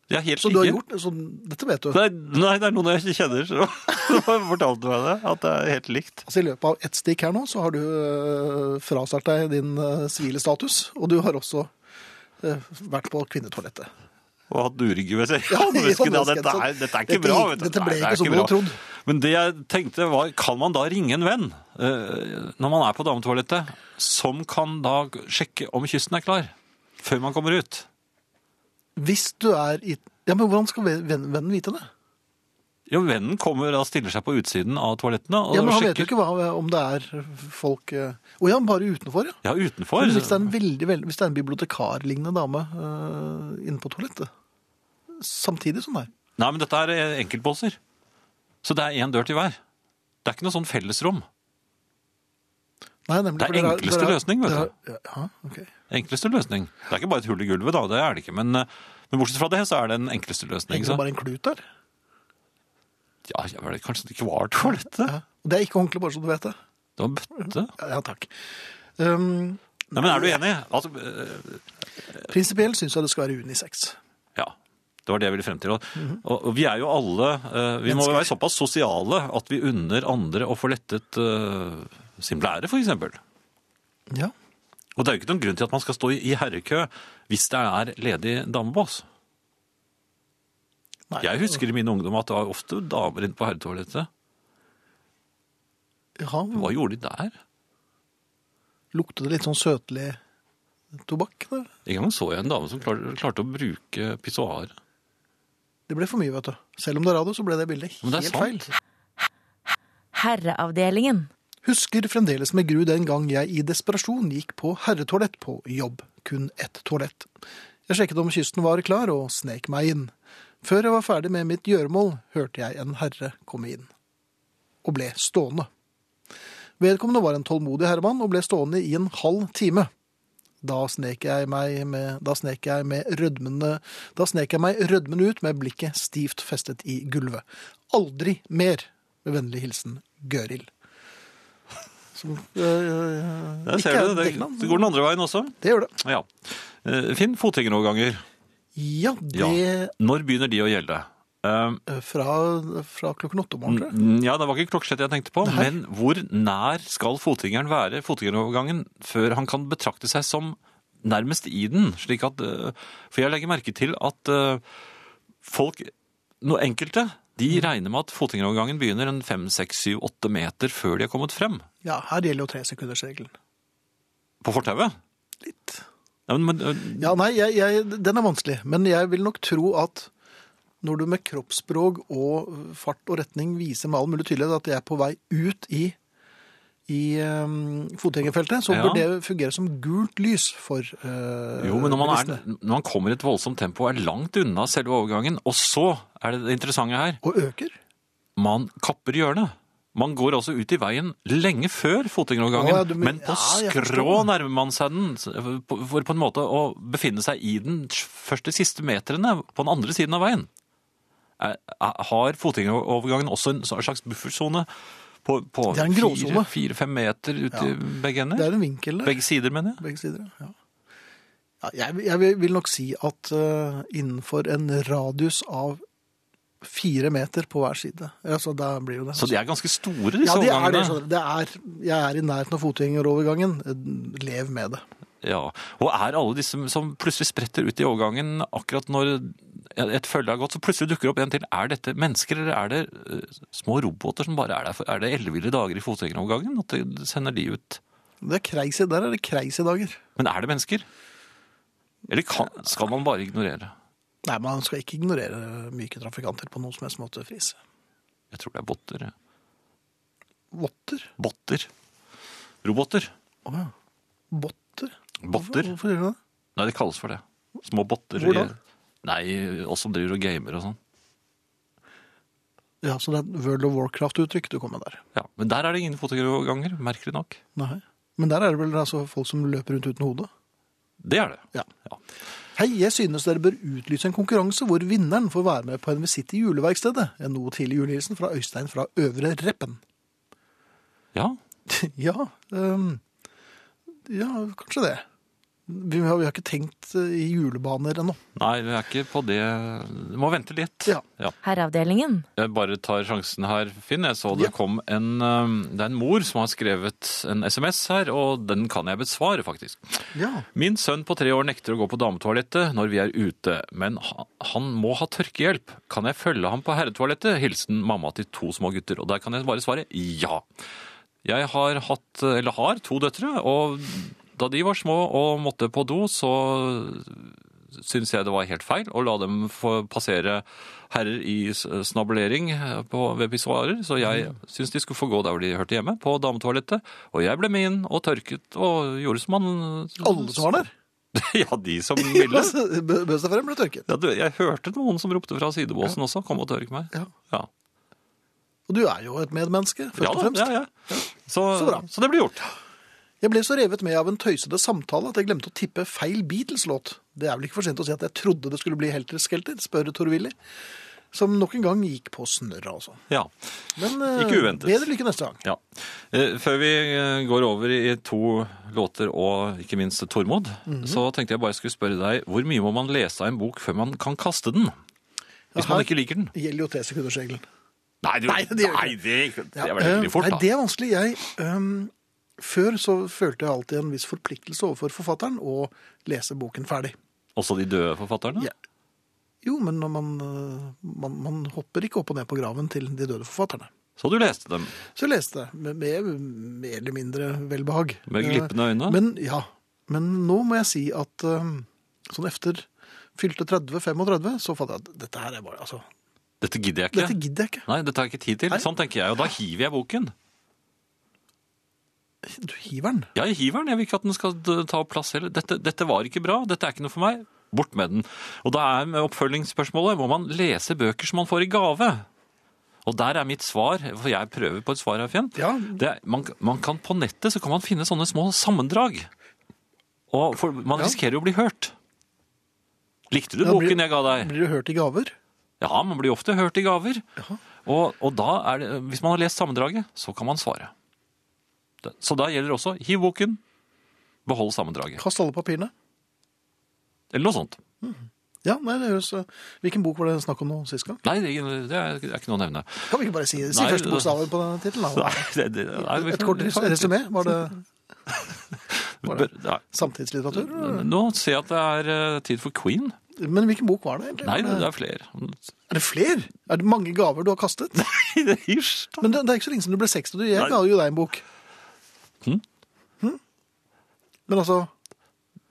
Det er helt Så du har ikke- gjort sånn, Dette vet du. Nei, nei, det er noen jeg ikke kjenner, så så fortalte meg det, at det er helt likt. Altså I løpet av ett stikk her nå, så har du øh, frasagt deg din øh, sivile status, og du har også øh, vært på kvinnetoalettet. Og hatt urygge ved seg. Ja, Ja, det- Vesken, ja, det- dette, er, dette er ikke sånn. dette bra, gikk- vet du. dette ble Nei, det er ikke som du hadde trodd. Men det jeg tenkte var, kan man da ringe en venn eh, når man er på dametoalettet, som kan da sjekke om kysten er klar, før man kommer ut? Hvis du er i Ja, men hvordan skal ven- vennen vennen vite det? Jo, vennen kommer og stiller seg på utsiden av toalettene og Ja, men Han vet jo sjekker. ikke hva, om det er folk øh, Å ja, bare utenfor, ja. Ja, utenfor. Men hvis det er en, eh, veldig, veldig, hvis det er en bibliotekarlignende dame øh, inne på toalettet Samtidig som det er. Nei, men dette er enkeltbåser. Så det er én dør til hver. Det er ikke noe sånn fellesrom. Nei, nemlig, Det er for dere enkleste dere løsning, vet dere er- Ja, ok. Enkleste løsning. Det er ikke bare et hull i gulvet, da. Det er det ikke. Men, eh, men bortsett fra det, så er det den enkleste løsning. Henger Så. det bare en klut der? Ja, ja, vel, kanskje det ikke var toalettet? Ja. Det er ikke håndkle, bare så du vet det. Det var en bøtte. Ja, ja takk. Um, Nei, men er du enig? Altså, øh, prinsipielt syns jeg det skal være unisex. ja. Det var det jeg ville frem til. Og, og, og vi er jo alle øh, Vi må Mennesker. være såpass sosiale at vi unner andre å få lettet øh, sin blære, for eksempel. Ja. Og det er jo ikke noen grunn til at man skal stå i, i herrekø hvis det er ledig damebås. Nei. Jeg husker i min ungdom at det var ofte damer inne på herretoalettet. Ja, Hva gjorde de der? lukter det litt sånn søtlig tobakk? Der? En gang så jeg en dame som klar, klarte å bruke pissoar. Det ble for mye, vet du. Selv om det er radio, så ble det bildet Men det helt er sant. feil. Herreavdelingen. Husker fremdeles med gru den gang jeg i desperasjon gikk på herretoalett på jobb. Kun ett toalett. Jeg sjekket om kysten var klar, og snek meg inn. Før jeg var ferdig med mitt gjøremål, hørte jeg en herre komme inn. Og ble stående. Vedkommende var en tålmodig herremann og ble stående i en halv time. Da snek jeg meg med, da snek jeg med rødmende Da snek jeg meg rødmende ut med blikket stivt festet i gulvet. Aldri mer! Med vennlig hilsen Gøril. Som øh, øh, Der ikke ser er du, det, Dekland. det går den andre veien også. Det gjør det. Ja. Eh, Finn, fotgjengeroverganger. Ja, det Når begynner de å gjelde? Eh, øh, Fra, fra klokken åtte om morgenen. tror jeg. n- Mm, ja, Det var ikke klokkeslett jeg tenkte på, men hvor nær skal fotgjengeren være fotgjengerovergangen før han kan betrakte seg som nærmest i den? slik at, eh, For jeg legger merke til at eh, folk, noe enkelte, de regner med at fotgjengerovergangen begynner en fem, seks, syv, åtte meter før de er kommet frem. Ja, her gjelder jo tresekundersregelen. På fortauet? Litt. Ja, men, men, eh, Ja, nei, jeg, jeg, den er vanskelig. Men jeg vil nok tro at når du med kroppsspråk og fart og retning viser med all mulig tydelighet at jeg er på vei ut i, i um, fotgjengerfeltet, så Ja. bør det fungere som gult lys for eh, Jo, men når man, er, bilistene. når man kommer i et voldsomt tempo og er langt unna selve overgangen, og så er det det interessante her, Og øker. man kapper hjørnet. Man går altså ut i veien lenge før fotgjengerovergangen, Å, ja, du men- men på ja, jeg skrå forstår. nærmer man seg den, på- for på en måte å befinne seg i den først de siste meterne på den andre siden av veien. Er- er- Har fotgjengerovergangen også en slags buffersone på, på Det er en gråsone. fire-fem meter ut Ja. i begge Det ender? er en vinkel der. Begge sider, mener jeg. Begge sider, ja. ja jeg, jeg vil- vil nok si at eh, innenfor en radius av fire meter på hver side. Altså, der blir jo det. Så de er ganske store, disse ja, de er overgangene. det. skjønner du. det er, jeg er i nærheten av fotgjengerovergangen. Lev med det. Ja, og er alle disse som plutselig spretter ut i overgangen akkurat når et følge har gått, så plutselig dukker det opp en til. Er dette mennesker, eller er det eh, små roboter som bare er der? for- Er det elleville dager i fotgjengerovergangen at det sender de ut? Det er kreis i, der er det kreis i dager. Men er det mennesker? Eller kan, skal man bare ignorere? Nei, man skal ikke ignorere myke trafikanter på noen som helst måte, Friis. Jeg tror det er botter. jeg. Votter? Botter. Roboter. Å ja. Botter? Hvorfor, Botter. hvorfor gjør du det? Nei, det kalles for det. Små botter. Hvor da? i- Nei, oss som driver og gamer og sånn. Ja, så det er et World of Warcraft-uttrykk du kom med der. Ja, men der er det ingen fotgjengeroverganger, merkelig nok. Nei. Men der er det vel altså folk som løper rundt uten hode? Det er det. Ja. ja. Hei, jeg synes dere bør utlyse en konkurranse hvor vinneren får være med på en visitt i juleverkstedet. En noe tidlig julehilsen fra Øystein fra Øvre Reppen. Ja, ja, ehm, ja, kanskje det. Vi har, vi har ikke tenkt eh, i julebaner ennå. Nei, vi er ikke på det. Du må vente litt. Ja. Herreavdelingen. Jeg bare tar sjansen her, Finn. Jeg så Ja. det kom en eh, Det er en mor som har skrevet en SMS her, og den kan jeg besvare, faktisk. Ja. Min sønn på tre år nekter å gå på dametoalettet når vi er ute, men ha- han må ha tørkehjelp. Kan jeg følge ham på herretoalettet? Hilsen mamma til to små gutter. Og der kan jeg bare svare ja. Jeg har hatt, eller har, to døtre, og da de var små og måtte på do, så syntes jeg det var helt feil å la dem få passere herrer i s- snabelering på, ved pissoarer, så jeg syntes de skulle få gå der hvor de hørte hjemme, på dametoalettet. Og jeg ble med inn og tørket og gjorde som han Alle som var der? ja, de som ville. Bø- Bøsta frem ble tørket. Ja, du, jeg hørte noen som ropte fra sidebåsen også. Kom og tørk meg. Ja. Ja, Og du er jo et medmenneske, først ja og da. fremst. Ja, ja. Så, Så så, bra. det blir gjort. Jeg ble så revet med av en tøysete samtale at jeg glemte å tippe feil Beatles-låt. Det er vel ikke for sent å si at jeg trodde det skulle bli Helter Skelter, spør Tor-Willy. Som nok en gang gikk på snørra, altså. Ja. Men eh, Ikke uventet. bedre lykke neste gang. ja. Eh, Før vi eh, går over i to låter og ikke minst Tormod, Mhm. så tenkte jeg bare skulle spørre deg hvor mye må man lese av en bok før man kan kaste den? Hvis her- man ikke liker den? Det gjelder jo tresekundersregelen. Nei, du, Nei, det gjør nei, det, det er vel Ja, veldig fort, da. eh, Nei, det er vanskelig. Jeg, ehm, før så følte jeg alltid en viss forpliktelse overfor forfatteren å lese boken ferdig. Også de døde forfatterne? Ja. Jo, men når man, eh, man, man hopper ikke opp og ned på graven til de døde forfatterne. Så du leste dem? Så jeg leste jeg med, med mer eller mindre velbehag. Med glippende øyne? Eh, Men, ja. Men nå må jeg si at eh, sånn efter fylte 30-35, så fant jeg at dette her er bare altså, Dette gidder jeg ikke. Dette gidder jeg ikke. Nei, dette har jeg ikke tid til. Nei. Sånn tenker jeg, og da hiver jeg boken. Du hiver den. Ja, jeg hiver den. Jeg vil ikke at den skal d- ta opp plass heller. Dette, dette var ikke bra. Dette er ikke noe for meg. Bort med den. Og da er med oppfølgingsspørsmålet må man lese bøker som man får i gave. Og der er mitt svar, for jeg prøver på et svar her, Finn. Ja. Det er, man, man kan på nettet så kan man finne sånne små sammendrag. Og for, man Ja. risikerer jo å bli hørt. Likte du Ja, blir- boken jeg ga deg? Blir du hørt i gaver? Ja, man blir ofte hørt i gaver. Og, og da er det, hvis man har lest sammendraget, så kan man svare. Det- Så da gjelder også hiv boken, behold sammendraget. Kast alle papirene. Eller noe sånt. Ja, nei, det høres eh, Hvilken bok var det snakk om nå sist gang? Nei, det, det er ikke noe å nevne. Kan vi ikke bare si, si Nei, første det- bokstaven på den tittelen? da? Nei, det, det, nei, vi- Et kort res- resumé? Var det Bør- nei. samtidslitteratur? Nå ser jeg at det er eh, tid for Queen. Men hvilken bok var det? egentlig? Nei, det, det er... er flere. det flere? Er det mange gaver du har kastet? Hysj, da. Men det, det er ikke så lenge siden du ble 60. Du, jeg Nei. ga jo deg en bok. Hm? Hm? Men altså,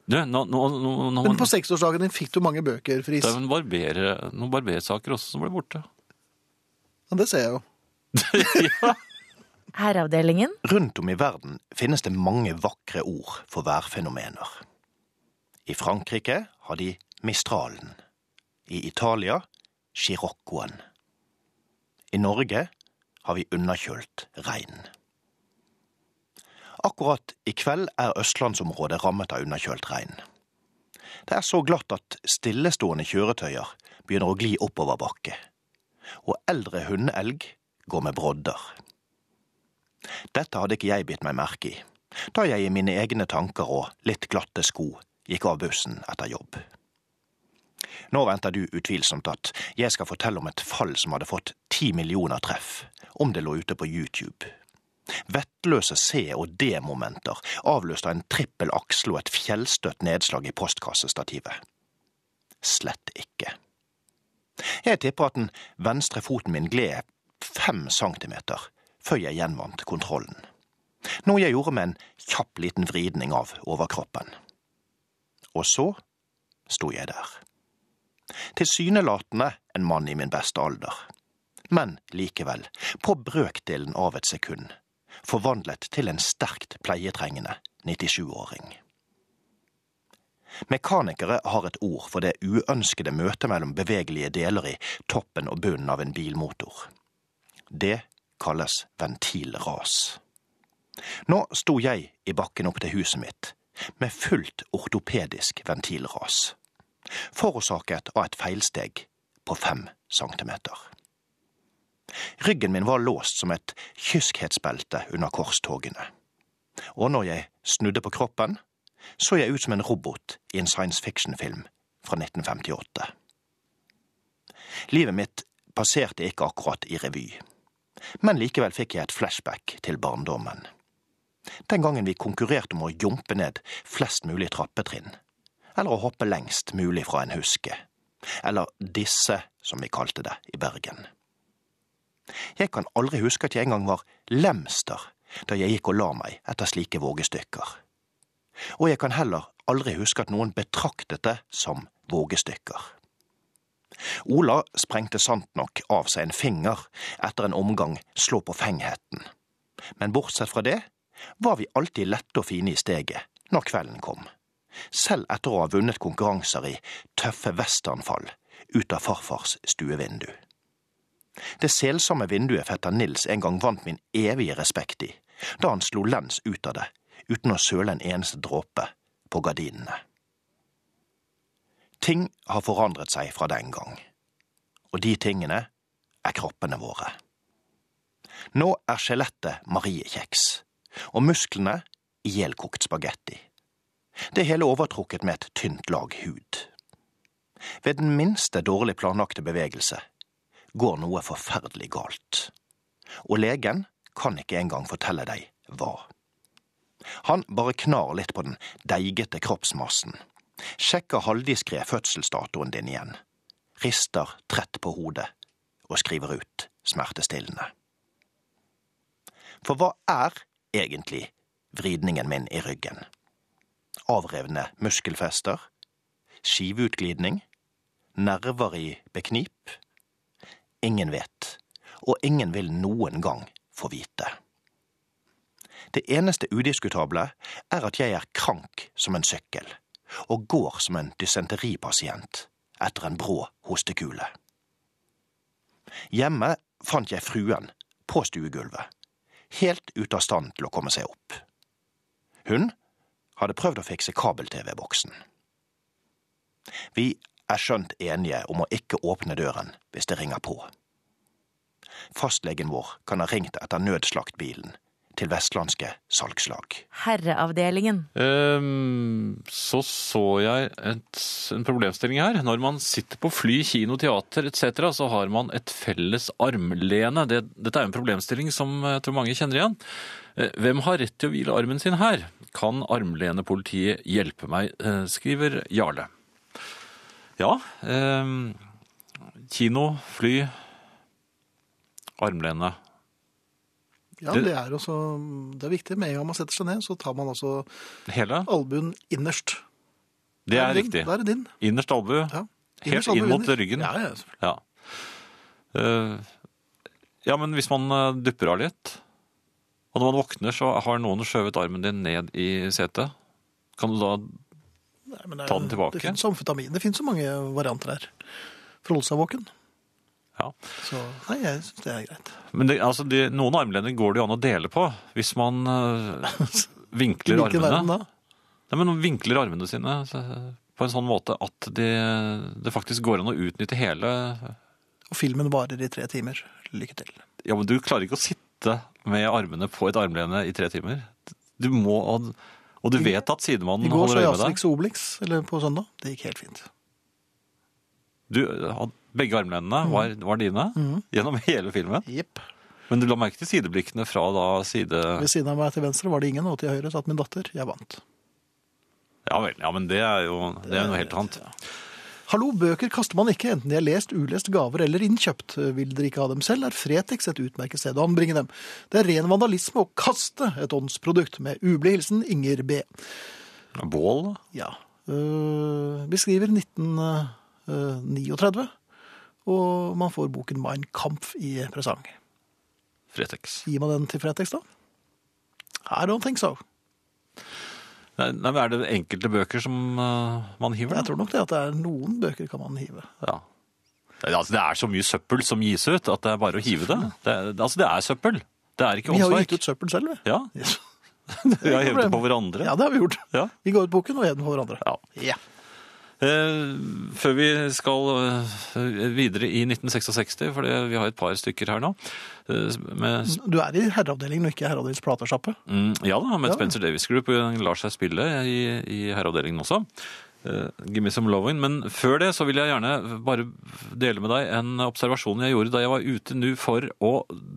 Du, nå, nå, nå, nå men på 60-årsdagen din fikk du mange bøker, Friis. det er en barbere, noen barbersaker også som ble borte. Ja, det ser jeg jo. Herreavdelingen. Rundt om i verden finnes det mange vakre ord for værfenomener. I Frankrike har de mistralen. I Italia sciroccoen. I Norge har vi underkjølt regn. Akkurat i kveld er østlandsområdet rammet av underkjølt regn. Det er så glatt at stillestående kjøretøyer begynner å gli oppover bakke. Og eldre hundeelg går med brodder. Dette hadde ikke jeg bitt meg merke i, da jeg i mine egne tanker og litt glatte sko gikk av bussen etter jobb. Nå venter du utvilsomt at jeg skal fortelle om et fall som hadde fått ti millioner treff, om det lå ute på YouTube. Vettløse C- og D-momenter avløst av en trippel aksel og et fjellstøtt nedslag i postkassestativet. Slett ikke. Jeg tipper at den venstre foten min gled fem centimeter før jeg gjenvant kontrollen. Noe jeg gjorde med en kjapp liten vridning av overkroppen. Og så sto jeg der. Tilsynelatende en mann i min beste alder. Men likevel, på brøkdelen av et sekund, forvandlet til en sterkt pleietrengende 97-åring. Mekanikere har et ord for det uønskede møtet mellom bevegelige deler i toppen og bunnen av en bilmotor. Det kalles ventilras. Nå sto jeg i bakken opp til huset mitt med fullt ortopedisk ventilras, forårsaket av et feilsteg på fem centimeter. Ryggen min var låst som et kyskhetsbelte under korstogene, og når jeg snudde på kroppen, så jeg ut som en robot i en science fiction-film fra 1958. Livet mitt passerte ikke akkurat i revy, men likevel fikk jeg et flashback til barndommen. Den gangen vi konkurrerte om å jumpe ned flest mulig trappetrinn, eller å hoppe lengst mulig fra en huske, eller disse, som vi kalte det i Bergen. Jeg kan aldri huske at jeg engang var lemster da jeg gikk og la meg etter slike vågestykker og jeg kan heller aldri huske at noen betraktet det som vågestykker. Ola sprengte sant nok av seg en finger etter en omgang slå på fengheten, men bortsett fra det var vi alltid lette og fine i steget når kvelden kom, selv etter å ha vunnet konkurranser i tøffe westernfall ut av farfars stuevindu. Det selsomme vinduet fetter Nils en gang vant min evige respekt i, da han slo lens ut av det, uten å søle en eneste dråpe på gardinene. Ting har forandret seg fra den gang, og de tingene er kroppene våre. Nå er skjelettet mariekjeks, og musklene ihjelkokt spagetti. Det hele overtrukket med et tynt lag hud. Ved den minste dårlig planlagte bevegelse går noe forferdelig galt. Og legen kan ikke engang fortelle deg hva. Han bare knar litt på den deigete kroppsmassen, sjekker halvdiskré fødselsdatoen din igjen, rister trett på hodet og skriver ut smertestillende. For hva er egentlig vridningen min i ryggen? Avrevne muskelfester? Skiveutglidning? Nerver i beknip? Ingen vet, og ingen vil noen gang få vite. Det eneste udiskutable er at jeg er krank som en sykkel, og går som en dysenteripasient etter en brå hostekule. Hjemme fant jeg fruen på stuegulvet, helt ute av stand til å komme seg opp. Hun hadde prøvd å fikse kabel-TV-boksen. Vi er skjønt enige om å ikke åpne døren hvis det ringer på. Fastlegen vår kan ha ringt etter nødslaktbilen til vestlandske salgslag. Herreavdelingen. Ehm, så så jeg et, en problemstilling her. Når man sitter på fly, kino, teater etc., så har man et felles armlene. Det, dette er en problemstilling som jeg tror mange kjenner igjen. Eh, Hvem har rett til å hvile armen sin her? Kan armlenepolitiet hjelpe meg, eh, skriver Jarle. Ja, ehm, kino, fly, armlene. Ja, Det- det er, også, det er viktig. Med en gang man setter seg ned, så tar man altså Hele? albuen innerst. Det er din. riktig. Da er det din. Innerst albu. Ja. Helt Innerst albue inn mot innerst. ryggen. Ja, ja, selvfølgelig. Ja. Eh, ja, men hvis man eh, dupper av litt, og når man våkner, så har noen skjøvet armen din ned i setet. Kan du da Nei, men det er- Ta den tilbake. Det finnes amfetamin. Det finnes så mange varianter her. For å holde seg våken. Ja. Så nei, jeg syns det er greit. Men det, altså, de, noen armlener går det jo an å dele på. Hvis man eh, vinkler Hvilken er den armene da? Nei, men vinkler armene sine så- på en sånn måte at de, det faktisk går an å utnytte hele Og filmen varer i tre timer. Lykke til. Ja, men du klarer ikke å sitte med armene på et armlene i tre timer. Du må Og du vet at I sidemannen går så holder jeg øye med deg. Asterix og Obelix, eller på søndag. Det gikk helt fint. Du, had- begge armlenene Mm. var, var dine gjennom hele filmen. Jepp. Men du la merke til sideblikkene fra da side... Ved siden av meg til venstre var det ingen, og til høyre satt min datter. Jeg vant. Ja vel, ja, men det er jo det er jo noe helt annet. Hallo, bøker kaster man ikke, enten de er lest, ulest, gaver eller innkjøpt. Vil dere ikke ha dem selv, er Fretex et utmerket sted å anbringe dem. Det er ren vandalisme å kaste et åndsprodukt. Med ublid hilsen Inger B. Bål? da? Ja. øh, beskriver 1939, eh, og man får boken Mein Kampf i presang. Fretex. Gir man den til Fretex, da? I don't think so. Nei, nei, men er det enkelte bøker som eh, man hiver? Jeg da? tror nok det at det er noen bøker kan man hive. Ja. Det, altså, det er så mye søppel som gis ut at det er bare å hive det. det er- altså, det er søppel. Det er ikke Vi har jo åndsverk. gitt ut søppel selv, vi. Ja, Yes. vi har hevet det på problem. hverandre. Ja, det har vi gjort. Ja. Vi ga ut boken og gir den på hverandre. Ja. Ja. Eh, før vi skal eh, videre i 1966, for det- vi har et par stykker her nå, eh, med Du er i herreavdelingen og ikke i herreavdelingens platesjappe. Mm, ja da, men Ja. Spencer Davis Group lar seg spille i, i herreavdelingen også. Eh, give me some loving. Men før det så vil jeg gjerne bare dele med deg en observasjon jeg gjorde da jeg var ute nå for å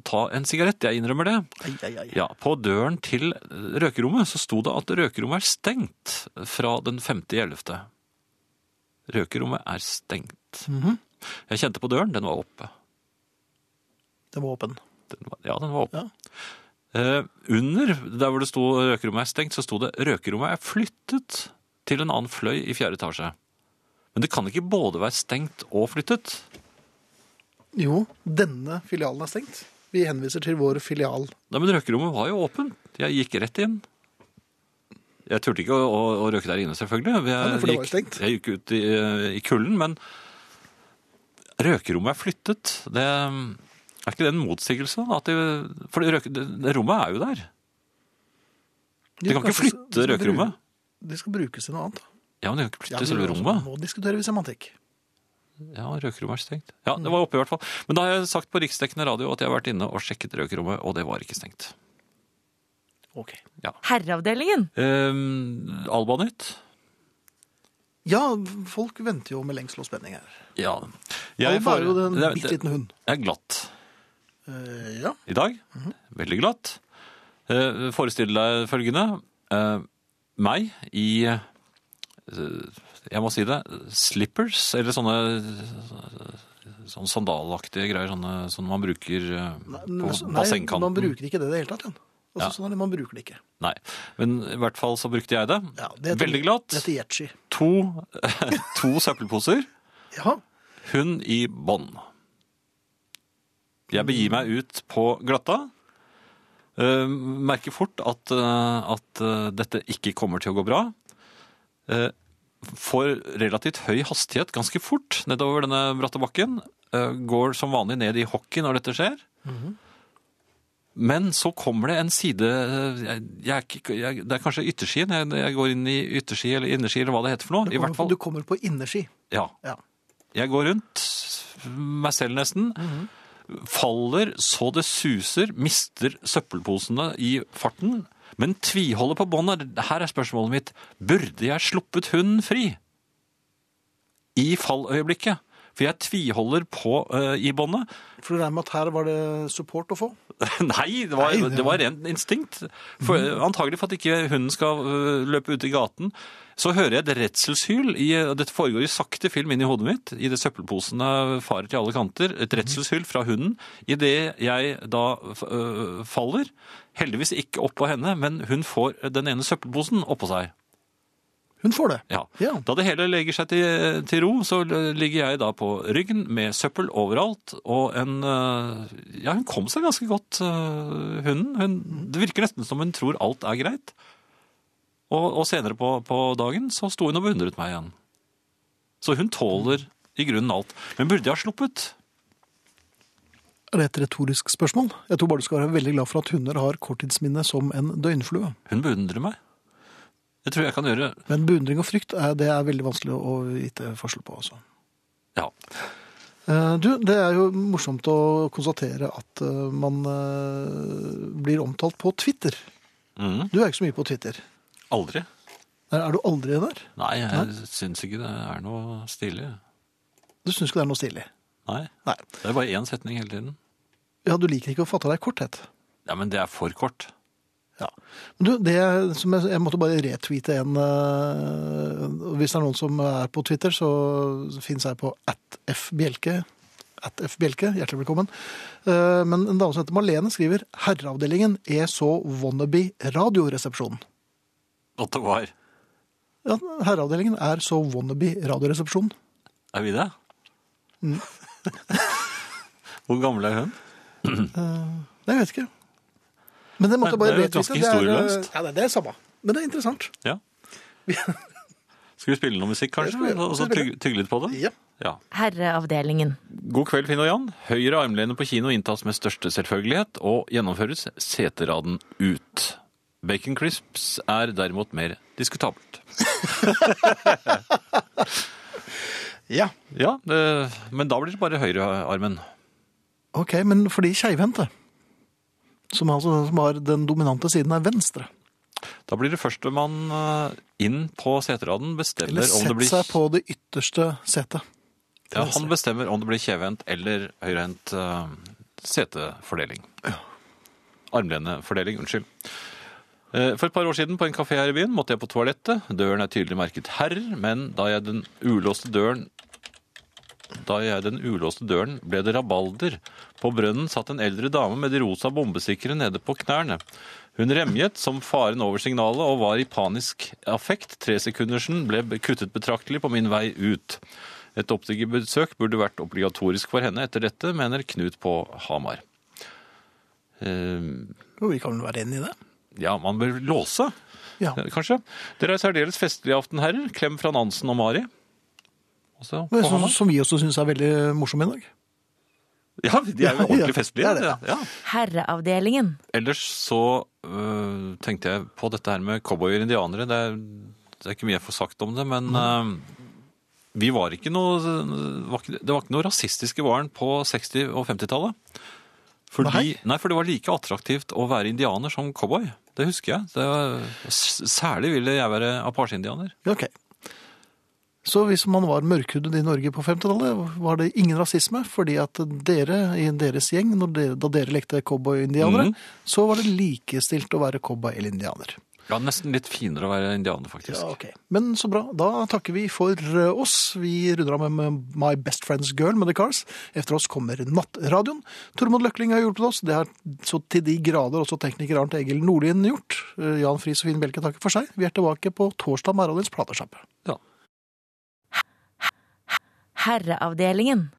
ta en sigarett. Jeg innrømmer det. Ai, ai, ai. Ja, På døren til røkerommet så sto det at røkerommet er stengt fra den 5.11. Røkerommet er stengt. Jeg kjente på døren, den var oppe. Den var åpen. Den var, ja, den var oppe. Ja. Eh, under der hvor det sto røkerommet er stengt, så sto det røkerommet er flyttet til en annen fløy i fjerde etasje. Men det kan ikke både være stengt og flyttet. Jo, denne filialen er stengt. Vi henviser til vår filial. Nei, men røkerommet var jo åpent. Jeg gikk rett inn. Jeg turte ikke å, å, å røyke der inne, selvfølgelig. Jeg, Nei, for det var jo gikk, stengt. jeg gikk ut i, eh, i kulden, men røkerommet er flyttet. Det, er ikke det en motsigelse? da? At de, for det, røke, det, det rommet er jo der. De kan ikke Kanskje flytte skal bruke- røkerommet. Det skal brukes til noe annet. da. Ja, men de kan ikke Ja, flytte men selve altså, rommet. Nå diskuterer vi semantikk. Ja, røkerommet er stengt. Ja, det var oppe i hvert fall. Men da har jeg sagt på riksdekkende radio at jeg har vært inne og sjekket røkerommet, og det var ikke stengt. Ok. Herreavdelingen. Um, Albanytt? Ja, folk venter jo med lengsel og spenning her. Ja. Jeg får- er jo en Det er- bitte liten hund. Jeg er glatt. Eh, ja. i dag. Veldig glatt. Eh, forestill deg følgende. Eh, meg i eh, Jeg må si det. Slippers, eller sånne eh, sånn sandalaktige greier sånne, som man bruker eh, Nei, men altså, på nei, bassengkanten. man bruker ikke det i det hele tatt. Jan. Altså, sånn er det, man bruker det ikke. Nei, Men i hvert fall så brukte jeg det. Ja, det heter- Veldig glatt. Det heter Yetchi. To, to søppelposer. Ja, Hun i bånd. Jeg begir meg ut på glatta. Eh, merker fort at, eh, at eh, dette ikke kommer til å gå bra. Eh, får relativt høy hastighet ganske fort nedover denne bratte bakken. Eh, går som vanlig ned i hockey når dette skjer. Men så kommer det en side eh, jeg, jeg, er ikke- jeg, Det er kanskje ytterskien. Jeg, jeg går inn i ytterski eller innerski eller hva det heter for noe. du I kommer, hvert fall, du kommer på innerski. ja, Ja. jeg går rundt, meg selv nesten, faller så det suser, mister søppelposene i farten, men tviholder på båndet. Her er spørsmålet mitt. Burde jeg sluppet hunden fri? I falløyeblikket. For jeg tviholder på eh, i båndet. For du regner med at her var det support å få? Nei, det var, Nei, det det var rent instinkt. For, eh, Antagelig for at ikke hunden skal øh, løpe ut i gaten. Så hører jeg et redselshyl. i- og Dette foregår i sakte film inni hodet mitt. I det søppelposene farer til alle kanter. Et redselshyl fra hunden. Idet jeg da øh, faller, heldigvis ikke oppå henne, men hun får den ene søppelposen oppå seg. Hun får det. Ja. Ja. Da det hele legger seg til, til ro, så ligger jeg da på ryggen med søppel overalt, og en øh, Ja, hun kom seg ganske godt, øh, hunden. Hun, det virker nesten som hun tror alt er greit. Og, og senere på, på dagen så sto hun og beundret meg igjen. Så hun tåler i grunnen alt. Men burde jeg ha sluppet? Er det et retorisk spørsmål? Jeg tror bare du skal være veldig glad for at hunder har korttidsminne som en døgnflue. Hun beundrer meg. Det tror jeg kan gjøre Men beundring og frykt er, det er veldig vanskelig å vite forskjell på. Altså. Ja. Eh, Du, det er jo morsomt å konstatere at eh, man eh, blir omtalt på Twitter. Mhm. Du er ikke så mye på Twitter. Aldri. Er er du aldri der? Nei, jeg syns ikke det er noe stilig. Du syns ikke det er noe stilig? Nei. Nei. Det er bare én setning hele tiden. Ja, du liker ikke å fatte deg i korthet. Ja, men det er for kort. Ja. Men Du, det som jeg, jeg måtte bare retweete en eh, og Hvis det er noen som er på Twitter, så fins jeg på atfbjelke. Atfbjelke, hjertelig velkommen. Eh, men en dame som heter Marlene, skriver 'Herreavdelingen er så wannabe Radioresepsjonen'. At det var Ja, herreavdelingen er så wannabe Radioresepsjonen. Er vi det? Hvor gammel er hun? Nei, jeg vet ikke. Men det måtte Nei, jeg bare det er jo retweete. ganske eh, historieløst. Ja, det, det er samme. Men det er interessant. Ja. Skal vi spille noe musikk, kanskje? Jeg skal- Og så skal spille. tygge, tygge litt på det? Ja. Ja. Herreavdelingen. God kveld, Finn og Jan. Høyre armlene på kino inntas med største selvfølgelighet og gjennomføres seteraden ut. Bacon crisps er derimot mer diskutabelt. ja. Ja, det, men da blir det bare høyrearmen. Ok, men for de keivhendte, som, altså, som har den dominante siden er venstre, Da blir det førstemann eh, inn på seteraden bestemmer eller om sette det blir seg på det ytterste setet. Ja, han bestemmer om det blir kjevhendt eller høyrehendt uh, setefordeling. Armlenefordeling, unnskyld. Eh, For et par år siden på en kafé her i byen måtte jeg på toalettet. Døren er tydelig merket herr, men da jeg den ulåste døren da jeg den ulåste døren, ble det rabalder. På brønnen satt en eldre dame med de rosa bombesikkere nede på knærne. Hun remjet som faren over signalet og var i panisk affekt. Tresekundersen ble kuttet betraktelig på min vei ut. Et optikerbesøk burde vært obligatorisk for henne etter dette, mener Knut på Hamar. Ehm, Eh, Jo, vi kan vel være enige i det? ja, man bør låse. Ja. kanskje. Dere er særdeles festlige i aften, herrer. Klem fra Nansen og Mari. Også, Men sånn- på som, Hamar. som vi også syns er veldig morsom i dag. ja, de er jo Ja, ja, ordentlig festlige. det er det. Ja. Herreavdelingen. Ellers så øh, tenkte jeg på dette her med cowboyer og indianere. Det er, det er ikke mye jeg får sagt om det, men øh, vi var ikke noe, var ikke, det var ikke noe rasistiske varen på 60- og 50-tallet. Fordi, nei. Nei? for det var like attraktivt å være indianer som cowboy. Det husker jeg. Det var, s- særlig ville jeg være apasjeindianer. Ja, ok. Så hvis man var mørkhudet i Norge på 50-tallet, var det ingen rasisme, fordi at dere i deres gjeng, når dere, da dere lekte cowboy-indianere, Mhm. så var det likestilt å være cowboy eller indianer. Ja, nesten litt finere å være indianer, faktisk. Ja, ok. Men så bra. Da takker vi for eh, oss. Vi runder av med My Best Friend's Girl med The Cars. Efter oss kommer Nattradioen. Tormod Løkling har hjulpet oss. Det har så til de grader også tekniker Arnt Egil Nordlien gjort. Eh, Jan Friis og Finn Bjelke takker for seg. Vi er tilbake på torsdag med Radions platesjappe. Herreavdelingen.